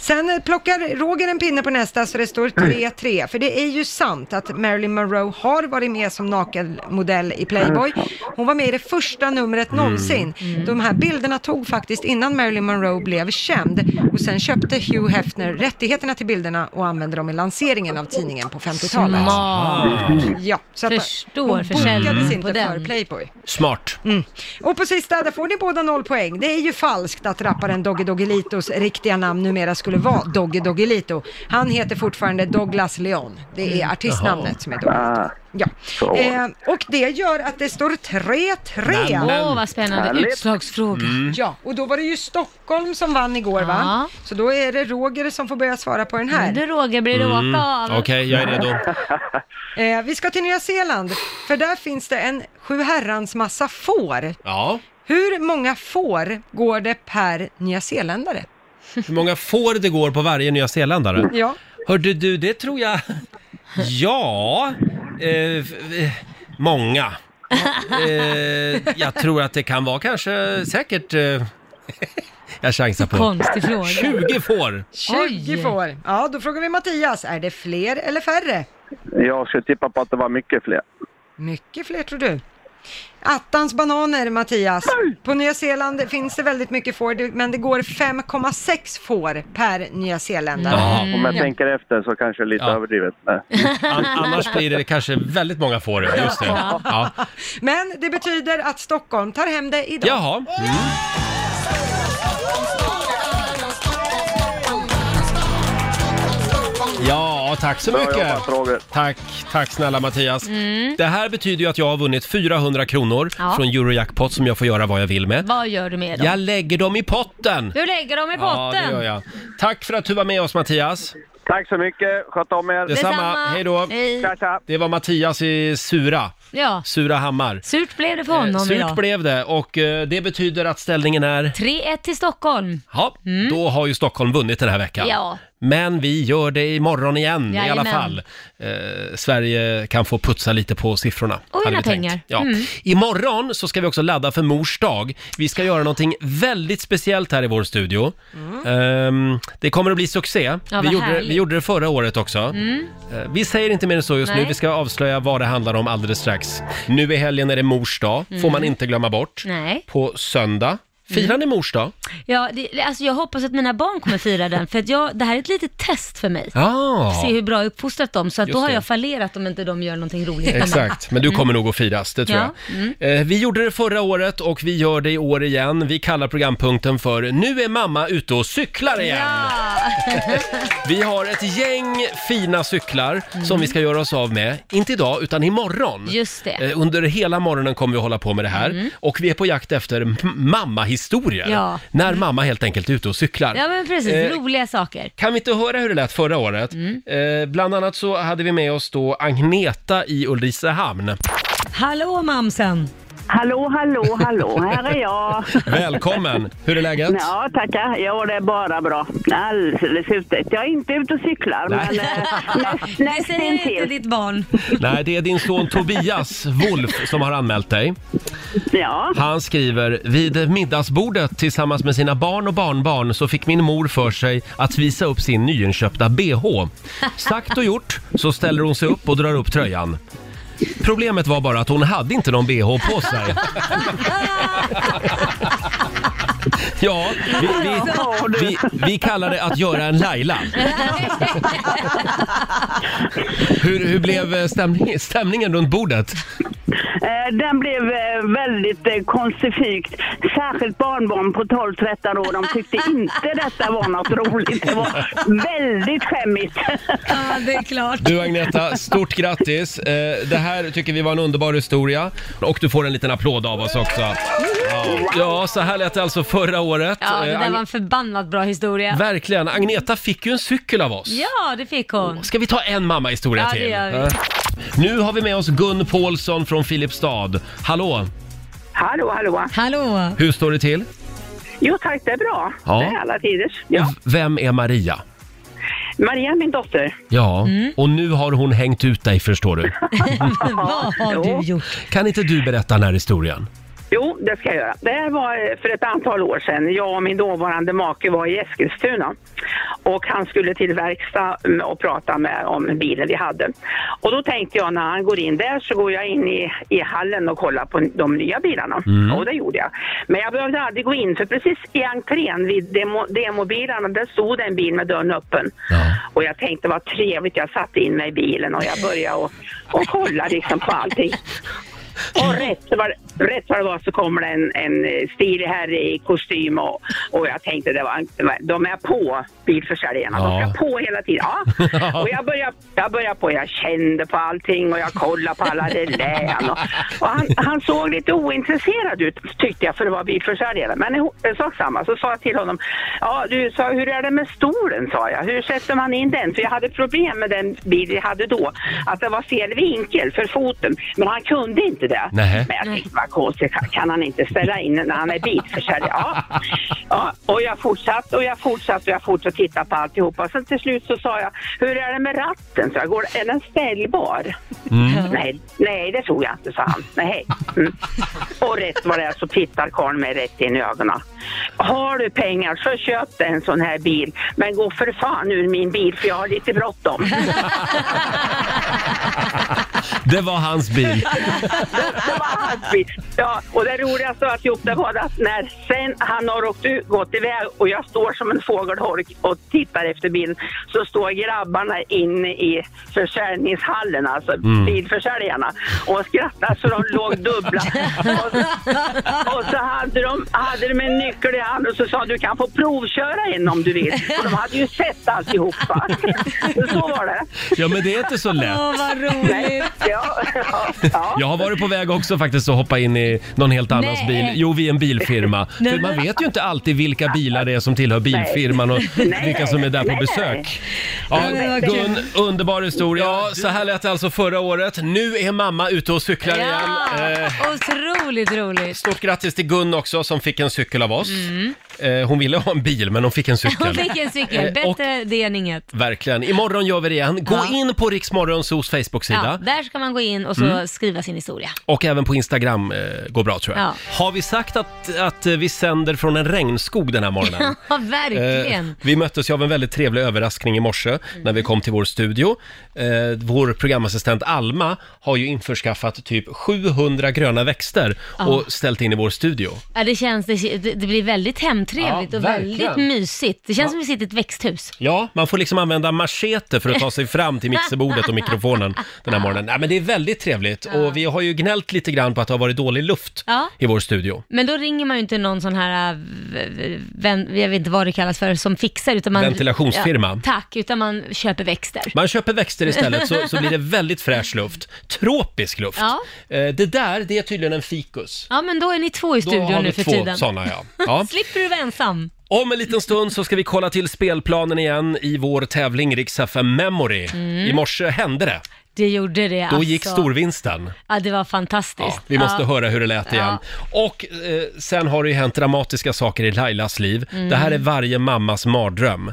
S2: Sen eh, plockar Roger en pinne på nästa så det står 3-3, för det är ju sant att Marilyn Monroe har varit med som nakenmodell i Playboy.
S3: Mm.
S2: Hon var med i det första numret någonsin. De här bilderna tog faktiskt innan Marilyn Monroe blev känd och sen köpte Hugh Hefner rättigheterna till bilderna och använde dem i lanseringen av tidningen på 50-talet.
S3: Smart.
S1: Ah,
S2: Ja, så att
S3: Förstår
S2: hon bokades
S3: försäljningen
S2: inte
S3: på den.
S2: för Playboy.
S1: Smart.
S2: Mm. Och på sista, där får ni båda noll poäng. Det är ju falskt att rapparen Dogge Doggelitos riktiga namn numera skulle vara Dogge Doggelito. Han heter fortfarande Douglas Leon. Det är artistnamnet som är Doggelito.
S7: Ah,
S2: Ja.
S7: Så.
S2: Eh, och det gör att det står 3-3.
S1: Nämen.
S3: Åh, vad spännande.
S7: Härligt.
S3: Utslagsfråga.
S1: Mm.
S2: Ja, och då var det ju Stockholm som vann igår va?
S3: Ja.
S2: Så då är det Roger som får börja svara på den här.
S3: Du Roger, blir du åka av?
S1: Mm. Okej, jag är redo.
S2: Eh, vi ska till Nya Zeeland, för där finns det en sju herrans massa får.
S1: Ja.
S2: Hur många får går det per nyzeeländare?
S1: Hur många får det går på varje nyzeeländare?
S2: Ja,
S1: Hörde du, det tror jag... Ja... Eh, f- eh, många. Eh, jag tror att det kan vara kanske säkert... Eh, jag chansar på...
S3: Konstig fråga.
S1: 20 får!
S2: 20
S3: Oj.
S2: får. Ja, då frågar vi Mattias, är det fler eller färre?
S7: Jag skulle tippa på att det var mycket fler.
S2: Mycket fler tror du. Attans bananer Mattias. På Nya Zeeland finns det väldigt mycket får, det- men det går 5,6 får per nyzeeländare.
S1: Ja,
S7: Om jag tänker efter så kanske det är lite
S1: Ja.
S7: överdrivet. Men
S1: an- annars blir det kanske väldigt många får, just det. Ja.
S2: Men det betyder att Stockholm tar hem det idag.
S1: Jaha. Mm. Ja, tack så
S7: bra
S1: mycket.
S7: jobbat Roger.
S1: Tack, tack snälla Mattias. Det här betyder ju att jag har vunnit 400 kronor
S3: Mm. Ja.
S1: från Eurojackpot som jag får göra vad jag vill med.
S3: Vad gör du med dem?
S1: Jag lägger dem i potten!
S3: Du lägger dem i
S1: Ja, det
S3: botten.
S1: gör jag. Tack för att du var med oss Mattias.
S7: Tack så mycket, sköt om er.
S1: Detsamma. Hej då.
S3: Hej.
S7: Tja, tja.
S1: Det var Mattias i Sura,
S3: Ja,
S1: Surahammar.
S3: surt blev det för honom
S1: Eh, Surt
S3: idag.
S1: blev det och eh, det betyder att ställningen är...
S3: 3-1 till Stockholm.
S1: Ja, då har ju Stockholm vunnit den här veckan.
S3: Mm. Ja.
S1: Men vi gör det imorgon igen i alla
S3: Jajamän.
S1: fall. Eh, Sverige kan få putsa lite på siffrorna.
S3: Och
S1: hade
S3: vinna
S1: vi tänkt.
S3: pengar. Mm.
S1: Ja. Imorgon så ska vi också ladda för mors dag. Vi ska göra någonting väldigt speciellt här i vår studio. Ehm, det kommer att bli succé.
S3: Mm. Ja,
S1: vi,
S3: vad
S1: gjorde,
S3: härligt. Mm.
S1: vi gjorde det förra året också. Eh, vi säger inte mer än så just nu.
S3: Nej.
S1: Vi ska avslöja vad det handlar om alldeles strax. Nu i helgen är det mors dag, får man inte glömma bort.
S3: Mm. Nej. Mm.
S1: På söndag Firar ni mors dag?
S3: Ja, det, alltså jag hoppas att mina barn kommer fira den, för att jag, det här är ett litet test för mig.
S1: Ja,
S3: Se hur bra jag uppfostrat dem, så att då
S1: Just
S3: har
S1: det.
S3: jag fallerat om inte de gör någonting roligt hemma.
S1: exakt. Men du kommer nog att firas, det tror
S3: Mm. Ja, Mm.
S1: jag. Eh, Vi gjorde det förra året och vi gör det i år igen. Vi kallar programpunkten för Nu är mamma ute och cyklar igen.
S3: Ja. [laughs]
S1: Vi har ett gäng fina cyklar som vi ska göra oss av med. Inte idag, utan imorgon.
S3: Mm. Just det. Mm.
S1: Eh, Under hela morgonen kommer vi hålla på med det här. Och vi är på jakt efter m- mammahistorier.
S3: Ja.
S1: När mamma helt enkelt är ute och cyklar.
S3: ja, men precis.
S1: Eh,
S3: Roliga saker.
S1: Kan vi inte höra hur det lät förra året? Eh, bland annat så hade vi med oss då Agneta i Ulricehamn.
S3: Hallå mamsen!
S7: Hallå, hallå, hallå, här är jag.
S1: Välkommen! Hur är läget?
S7: Ja, tackar. Jo, det är bara bra. Alldeles utmärkt. Jag är inte ute och cyklar,
S1: Nej.
S7: men eh, näst-
S3: Det säger inte
S7: nästintill.
S3: ditt barn.
S1: Nej, det är din son Tobias Wolf som har anmält dig.
S7: Ja,
S1: Han skriver, vid middagsbordet tillsammans med sina barn och barnbarn så fick min mor för sig att visa upp sin nyinköpta bh. Sagt och gjort så ställer hon sig upp och drar upp tröjan. Problemet var bara att hon hade inte någon bh på sig. Ja, vi, vi, vi, vi kallar det att göra en Laila. Hur, hur blev eh, stämning, stämningen runt bordet?
S7: eh, den blev eh, väldigt eh, konstifikt. Särskilt barnbarn på 12-13 år, de tyckte inte detta var något roligt. Det var väldigt skämmigt.
S3: Ja, det är klart.
S1: Du Agneta, stort grattis. Eh, Det här tycker vi var en underbar historia. Och du får en liten applåd av oss också. Ja, ja så här lät det alltså förra året.
S3: Ja, det
S1: Eh,
S3: där
S1: Ag-
S3: var en förbannat bra historia.
S1: Verkligen. Agneta fick ju en cykel av oss.
S3: Ja, det fick hon.
S1: Ska vi ta en mammahistoria
S3: Ja, det
S1: till?
S3: gör vi.
S1: Eh, Nu har vi med oss Gun Paulsson från Filipstad. Hallå,
S7: Hallå, hallå.
S3: Hallå!
S1: hur står det till?
S7: Jo tack, det är bra.
S1: Ja. Mm.
S7: Det är alla tiders. Ja.
S1: Och vem är Maria?
S7: Maria, min dotter.
S1: Ja,
S3: Mm.
S1: och nu har hon hängt ut dig förstår du.
S3: Vad har
S7: Jo.
S3: du gjort?
S1: Kan inte du berätta den här historien?
S7: Jo, det ska jag göra. Det här var eh, för ett antal år sedan. Jag och min dåvarande make var i Eskilstuna och han skulle till verkstad mm, och prata med, om bilen vi hade. Och då tänkte jag när han går in där så går jag in i, i hallen och kollar på de nya bilarna.
S1: Mm.
S7: Och det gjorde jag. Men jag behövde aldrig gå in för precis i entrén vid demo, demobilarna där stod en bil med dörren öppen.
S1: Ja.
S7: Och jag tänkte vad trevligt, jag satte in mig i bilen och jag började och, och kolla liksom på allting. Och rätt vad rätt vad det var så kommer det en, en eh, stilig herre i kostym och, och jag tänkte det var, det var- de är på bilförsäljarna.
S1: Ja.
S7: De ska på hela tiden.
S1: [laughs]
S7: Ja. Och jag började, jag började på, jag kände på allting och jag kollade på
S1: [laughs]
S7: alla relän. Och, och han, han såg lite ointresserad ut tyckte jag för det var bilförsäljare. Men eh, sak samma så sa jag till honom, ja du sa hur är det med stolen sa jag. Hur sätter man in den? För jag hade problem med den bil jag hade då. Att det var fel vinkel för foten. Men han kunde inte det.
S1: Nähä.
S7: Men jag tänkte, vad konstigt, kan- kan han inte ställa in när han är bilförsäljare? Ja. ja. Och jag fortsatte och jag fortsatte och jag fortsatte titta på alltihopa. Sen till slut så sa jag, hur är det med ratten? Så jag, går, är den ställbar? Nej, nej, det tror jag inte, sa han. Nej. Mm. Och rätt vad det är så tittar karln mig rätt in i ögonen. Har du pengar så köp dig en sån här bil, men gå för fan ur min bil för jag har lite bråttom.
S1: Det var hans bil.
S7: Det var hans bil. Ja, och det roligaste av alltihop det var att när sen han har åkt ut, gått iväg och jag står som en fågelholk och tittar efter bilen så står grabbarna inne i försäljningshallen, alltså bilförsäljarna och skrattar så de låg dubbla. Och, och så hade de, hade de en nyckel i handen och så sa du kan få provköra en om du vill. Och de hade ju sett alltihopa. Så var det.
S1: Ja, men det är inte så lätt.
S3: Åh, vad roligt!
S7: Ja, ja, ja.
S1: Jag har varit på väg också faktiskt att hoppa in i någon helt annans
S3: Nej.
S1: bil. Jo, vi är en bilfirma. För
S3: [laughs] Nej,
S1: man
S3: men-
S1: vet ju inte alltid vilka bilar det är som tillhör bilfirman
S3: [laughs]
S1: och
S7: Nej.
S1: vilka som är där på
S7: Nej.
S1: besök. Ja,
S3: Nej, vad
S1: Gun, underbar historia. Ja, så här lät det alltså förra året. Nu är mamma ute och cyklar igen. Eh,
S3: Ja, otroligt roligt.
S1: Stort grattis till Gun också som fick en cykel av oss. Eh, hon ville ha en bil, men hon fick en
S3: Mm. Hon
S1: cykel.
S3: fick en cykel,
S1: Eh, och-
S3: bättre det än inget.
S1: Verkligen. Imorgon gör vi det igen. Gå
S3: Ja.
S1: in på Riksmorgonsos
S3: Ja,
S1: Facebook-sida
S3: där ska man gå in och så
S1: Mm.
S3: skriva sin historia.
S1: och även på Instagram eh, går bra tror jag.
S3: Ja.
S1: Har vi sagt att, att eh, vi sänder från en regnskog den här morgonen?
S3: [laughs] Ja,
S1: Eh,
S3: verkligen. Mm.
S1: vi möttes ju av en väldigt trevlig överraskning i morse när vi kom till vår studio. Eh, vår programassistent Alma har ju införskaffat typ 700 gröna växter och ställt in i vår studio.
S3: Ja, det, känns, det, det blir väldigt hemtrevligt
S1: Ja,
S3: och
S1: verkligen.
S3: väldigt mysigt. Det känns som vi sitter i ett växthus.
S1: Ja, man får liksom använda machete för att ta sig fram
S3: [laughs]
S1: till mixerbordet och mikrofonen den här morgonen. Nej, men det är väldigt trevligt och vi har ju gnällt lite grann på att det har varit dålig luft
S3: Ja.
S1: i vår studio.
S3: Men då ringer man ju inte någon sån här, äh, v- vän, jag vet inte vad det kallas för, som fixar. Utan man,
S1: Ventilationsfirma.
S3: Ja, tack, utan man köper växter.
S1: Man köper växter istället så, så blir
S3: [laughs]
S1: det väldigt fräsch luft. Tropisk luft.
S3: Ja.
S1: Eh, Det där, det är tydligen en fikus.
S3: Ja, men då är ni två i
S1: Då har vi
S3: studion nu för
S1: två
S3: tiden.
S1: sådana ja.
S3: [laughs]
S1: ja.
S3: Slipper du vara ensam.
S1: Om en liten stund så ska vi kolla till spelplanen igen i vår tävling Rix FM Memory. I morse hände det.
S3: Det gjorde det
S1: Då
S3: Mm. alltså.
S1: gick storvinsten.
S3: Ja, det var
S1: Ja,
S3: fantastiskt.
S1: vi måste
S3: ja.
S1: höra hur det lät igen. Och eh, sen har det ju hänt dramatiska saker i Lailas liv. Det här är varje mammas mardröm.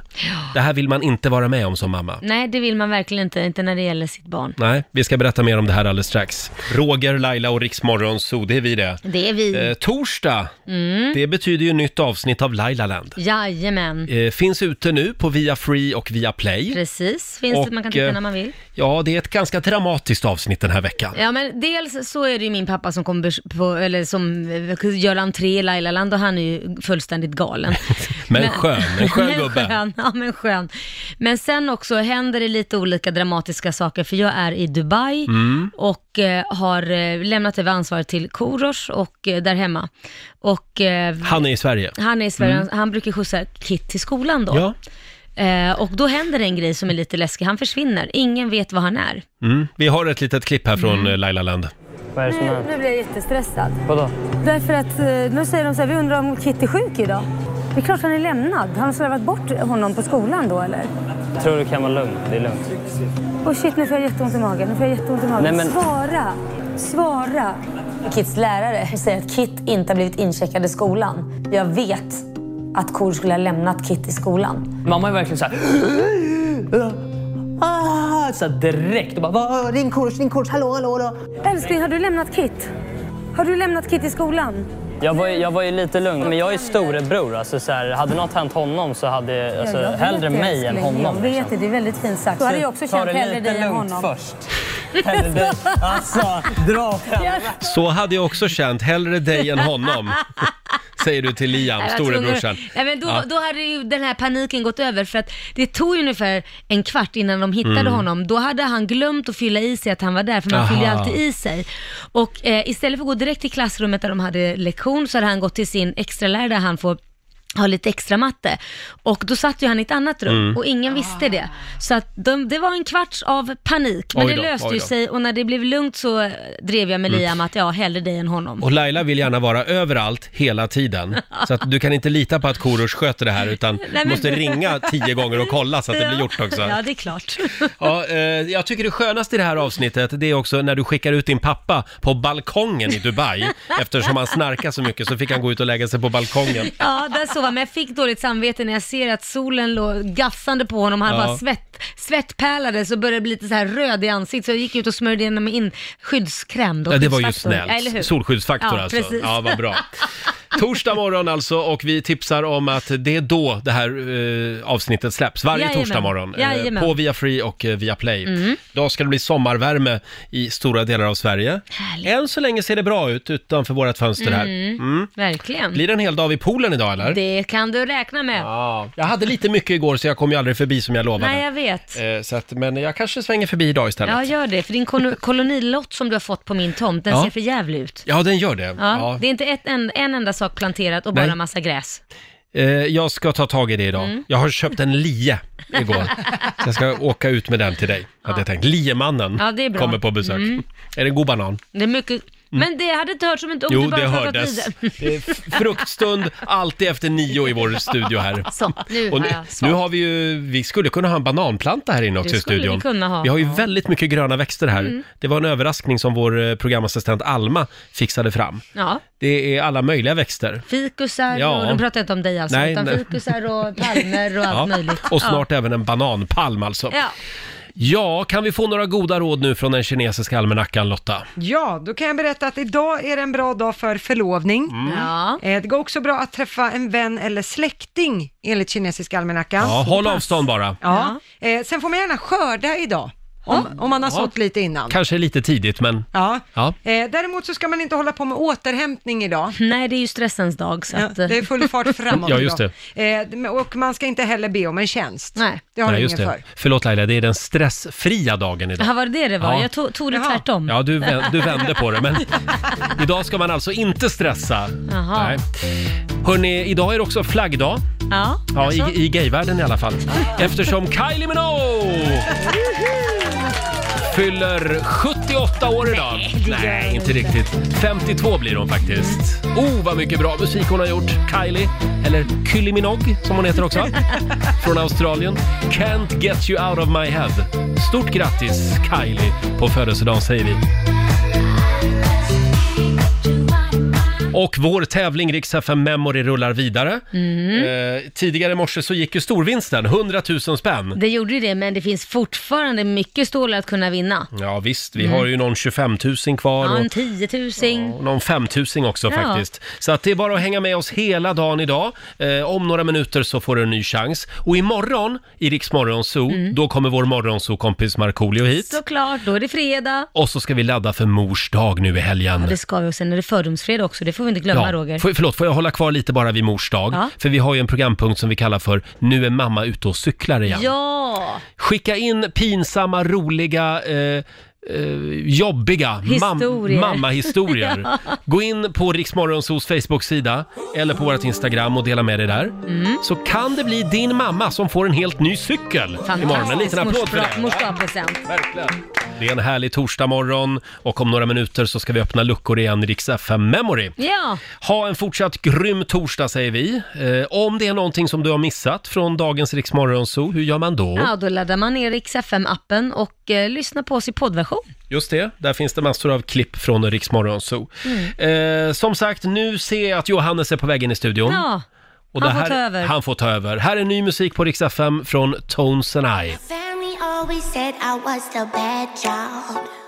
S1: Det här vill man inte vara med om som mamma.
S3: Nej, det vill man verkligen inte, inte när det gäller sitt barn.
S1: Nej, vi ska berätta mer om det här alldeles strax. Roger, Laila och Riksmorgon, så det är vi det.
S3: Det är vi.
S1: Eh, torsdag,
S3: Mm.
S1: det betyder ju nytt avsnitt av Lailaland.
S3: Jajamän.
S1: Eh, finns ute nu på via Free och via Play.
S3: Precis, finns
S1: Och,
S3: det, man kan titta
S1: eh,
S3: när man vill.
S1: Ja, det är ett ganska dramatiskt avsnitt den här veckan.
S3: Ja men dels så är det ju min pappa som kommer bes- på, eller som eh, gör entré i Lailaland och han är ju fullständigt galen.
S1: [laughs] Men skön, en skön
S3: [laughs] Men
S1: gubbe.
S3: skön, ja men skön. Men sen också händer det lite olika dramatiska saker för jag är i Dubai
S1: Mm.
S3: och eh, har eh, lämnat över ansvaret till Korosh och eh, där hemma. Och eh,
S1: Han är i Sverige.
S3: han är i Sverige, han, han brukar skjutsa Kit till skolan då.
S1: Ja,
S3: Eh, och då händer en grej som är lite läskig, han försvinner, ingen vet var han är.
S1: mm. vi har ett litet klipp här från mm. Lailaland.
S8: Nu, nu blir jag jättestressad. Vadå? Därför att eh, nu säger de så här, vi undrar om Kitty är sjuk idag. Det är klart han är lämnad. Har de slarvat bort honom på skolan då eller?
S9: tror du kan vara lugn. Det är lugnt.
S8: Och shit, nu får jag jätteont i magen. Nu får jag jätteont i magen.
S9: Nej, men-
S8: Svara! Svara! Kits lärare säger att Kit inte har blivit incheckad i skolan. Jag vet att Kor skulle ha lämnat Kit i skolan.
S9: Mamma är verkligen så här... Ah, så här direkt. Och bara, "Va? ring kurs, ring kurs, hallå, hallå, hallå.
S8: Älskling, har du lämnat Kit? Har du lämnat Kit i skolan?
S9: Jag var, ju- jag var ju lite lugn, men jag är storebror. Alltså, så här, hade något hänt honom så hade alltså,
S8: Jag vet
S9: hellre
S8: det,
S9: mig än
S8: älskling.
S9: honom.
S8: Jag vet
S9: liksom.
S8: det, det är väldigt fint sagt. Då hade jag också
S9: Ta
S8: känt
S9: det
S8: hellre
S9: lite
S8: dig än
S9: lugnt
S8: honom.
S9: först. Hellre dig. Alltså, dra åt helvete.
S1: Så hade jag också känt, hellre dig än
S3: [laughs]
S1: honom. Säger du till Liam,
S3: Jag var
S1: storebrorsan.
S3: tvungen- Ja, Alltså, men då,
S1: Ja.
S3: då hade ju den här paniken gått över för att det tog ju ungefär en kvart innan de hittade
S1: Mm.
S3: honom. Då hade han glömt att fylla i sig att han var där, för man
S1: Aha.
S3: fyller ju alltid i sig. Och eh, istället för att gå direkt till klassrummet där de hade lektion så hade han gått till sin extralärare där han får ha lite extra matte. Och då satt ju han i ett annat rum
S1: Mm.
S3: och ingen visste det. Så att de, det var en kvarts av panik, men
S1: Oj
S3: det
S1: då,
S3: löste
S1: oj
S3: ju
S1: då. Mm.
S3: sig och när det blev lugnt så eh, drev jag med Liam att ja, hellre dig än honom.
S1: Och Laila vill gärna vara överallt hela tiden. Så att du kan inte lita på att Korosh sköter det här utan du
S3: men-
S1: måste ringa tio gånger och kolla så att det blir gjort också.
S3: [laughs] Ja, det är klart.
S1: Ja, eh, jag tycker det skönaste i det här avsnittet det är också när du skickar ut din pappa på balkongen i
S3: [laughs]
S1: Dubai. Eftersom han snarkar så mycket så fick han gå ut och lägga sig på balkongen.
S3: Ja, där sov han. Men jag fick dåligt samvete när jag ser att solen låg gassande på honom. Han
S1: Ja.
S3: bara svett, svettpärlades och började bli lite så här röd i ansiktet. Så jag gick ut och smörjde igenom in skyddskräm då.
S1: Ja, det var ju
S3: skyddsfaktor. Ja, eller hur?
S1: snällt. Solskyddsfaktor
S3: ja,
S1: alltså.
S3: Precis.
S1: Ja, vad bra. Torsdag morgon alltså och vi tipsar om att det är då det här eh, avsnittet släpps. Varje
S3: Jajamän.
S1: torsdag morgon. eh,
S3: Jajamän. Mm.
S1: på via Free och eh, via Play. Idag ska det bli sommarvärme i stora delar av Sverige.
S3: Härligt.
S1: Än så länge ser det bra ut utanför vårt fönster här. Mm.
S3: [laughs] Verkligen.
S1: Blir det en hel dag vid poolen idag eller?
S3: Det kan du räkna med.
S1: Ja, jag hade lite mycket igår så jag kom ju aldrig förbi som jag lovade.
S3: Nej, jag vet.
S1: Eh, Så att, men jag kanske svänger förbi idag istället.
S3: Ja, gör det. För din kol- kolonilott som du har fått på min tomt, den
S1: Ja.
S3: ser för jävlig ut.
S1: Ja, den gör det.
S3: Ja,
S1: Ja.
S3: Det är inte ett, en, en enda sak planterat och
S1: Nej.
S3: bara massa gräs.
S1: Eh, jag ska ta tag i det idag.
S3: Mm.
S1: Jag har köpt en lie
S3: [laughs]
S1: igår. så jag ska åka ut med den till dig, hade jag tänkt. Liemannen
S3: Ja, det är bra. Mm.
S1: kommer på besök. [laughs] Är det en god banan?
S3: Det är mycket, Men det hade inte hörts om inte om
S1: Jo,
S3: du
S1: [laughs]
S3: bara
S1: det
S3: pratat
S1: hördes.
S3: vidare.
S1: Fruktstund alltid efter nio i vår studio här.
S3: [laughs] Så,
S1: Och
S3: nu har
S1: nu,
S3: jag
S1: nu
S3: svarat.
S1: har vi ju, vi skulle kunna ha en bananplanta här inne också
S3: Det
S1: i
S3: skulle vi
S1: studion.
S3: kunna ha.
S1: vi har ju väldigt mycket gröna växter här.
S3: Mm.
S1: Det var en överraskning som vår eh, programassistent Alma fixade fram.
S3: Ja,
S1: Det är alla möjliga växter.
S3: fikusar
S1: Ja.
S3: och, nu pratar jag inte om dig alltså,
S1: Nej,
S3: utan
S1: nej.
S3: fikusar och palmer
S1: [laughs]
S3: och allt möjligt.
S1: Och snart även en bananpalm alltså.
S3: ja. ja,
S1: Ja, kan vi få några goda råd nu från den kinesiska almanackan Lotta?
S2: Ja, då kan jag berätta att idag är det en bra dag för förlovning.
S1: Mm.
S2: Eh, Det går också bra att träffa en vän eller släkting enligt kinesiska almanackan.
S1: Ja, håll avstånd bara.
S2: Ja. Eh, Sen får man gärna skörda idag, om, om man har
S1: Ja.
S2: sått lite innan.
S1: Kanske lite tidigt, men...
S2: Ja.
S1: Ja.
S2: Eh, däremot så ska man inte hålla på med återhämtning idag.
S3: Nej, det är ju stressens dag. Så att...
S2: ja, det är full fart
S1: [laughs]
S2: framåt
S1: Ja, just
S2: idag. Eh, och man ska inte heller be om en tjänst.
S3: Nej.
S2: Det har
S1: Nej,
S2: du
S1: just
S2: ingen
S1: det.
S2: för.
S1: Förlåt Laila, det är den stressfria dagen idag.
S3: Jaha, eh, var det det det var?
S1: Ja.
S3: Jag tog, tog det tvärtom.
S1: Ja, du, vä- du vände på det, men idag ska man alltså inte stressa.
S3: Jaha.
S1: Nej. Hörni, idag är det också flaggdag.
S3: Ja,
S1: Ja,
S3: alltså.
S1: i, i gayvärlden i alla [laughs] fall. Eftersom Kylie Minogue fyller 78 år idag. Nej, inte riktigt. 52 blir hon faktiskt. Oh, vad mycket bra musik hon har gjort. Kylie, eller Kylie Minogue som hon heter [laughs] också, från Australien. Can't get you out of my head. Stort grattis Kylie på födelsedagen säger vi. Och vår tävling Rix FM Memory rullar vidare. Eh, tidigare i morse så gick ju storvinsten, 100 000 spänn.
S3: Det gjorde ju det, men det finns fortfarande mycket stålar att kunna vinna.
S1: Ja visst, vi
S3: Mm.
S1: har ju någon 25 000 kvar
S3: Ja, en
S1: och
S3: 10 000.
S1: och någon 5 000 också
S3: Ja.
S1: faktiskt. Så att det är bara att hänga med oss hela dagen idag. Eh, om några minuter så får du en ny chans. Och imorgon i Rix Morgonzoo,
S3: Mm.
S1: då kommer vår morgonzoo-kompis Markoolio hit.
S3: Såklart, då är det fredag.
S1: Och så ska vi ladda för mors dag nu i helgen.
S3: Ja, det ska vi och sen är det fördomsfredag också, det får vi inte glömma Roger.
S1: Får, förlåt, får jag hålla kvar lite bara vid mors dag?
S3: Ja.
S1: För vi har ju en programpunkt som vi kallar för Nu är mamma ute och cyklar igen.
S3: Ja!
S1: Skicka in pinsamma, roliga, eh, eh, jobbiga
S3: Historier.
S1: mammahistorier.
S3: [laughs] Ja.
S1: Gå in på Riksmorgonsos Facebook-sida eller på vårt Instagram och dela med dig där.
S3: Mm.
S1: Så kan det bli din mamma som får en helt ny cykel imorgon. En liten applåd för det.
S3: Mors present.
S1: Verkligen. Det är en härlig torsdagmorgon och om några minuter så ska vi öppna luckor igen i Rix FM Memory.
S3: Ja,
S1: Ha en fortsatt grym torsdag säger vi. Eh, om det är någonting som du har missat från dagens Rix Morgonzoo, hur gör man då?
S3: ja, då laddar man ner Rix FM-appen och eh, lyssnar på oss i poddversion.
S1: Just det, där finns det massor av klipp från Rix Morgonzoo. Eh, som sagt, nu ser jag att Johannes är på väg in i studion.
S3: Mm. Ja,
S1: Och
S3: han
S1: det
S3: får
S1: här,
S3: ta över.
S1: Han får ta över. Här är ny musik på Rix FM från Tones and I.
S10: Family always said I was the bad child.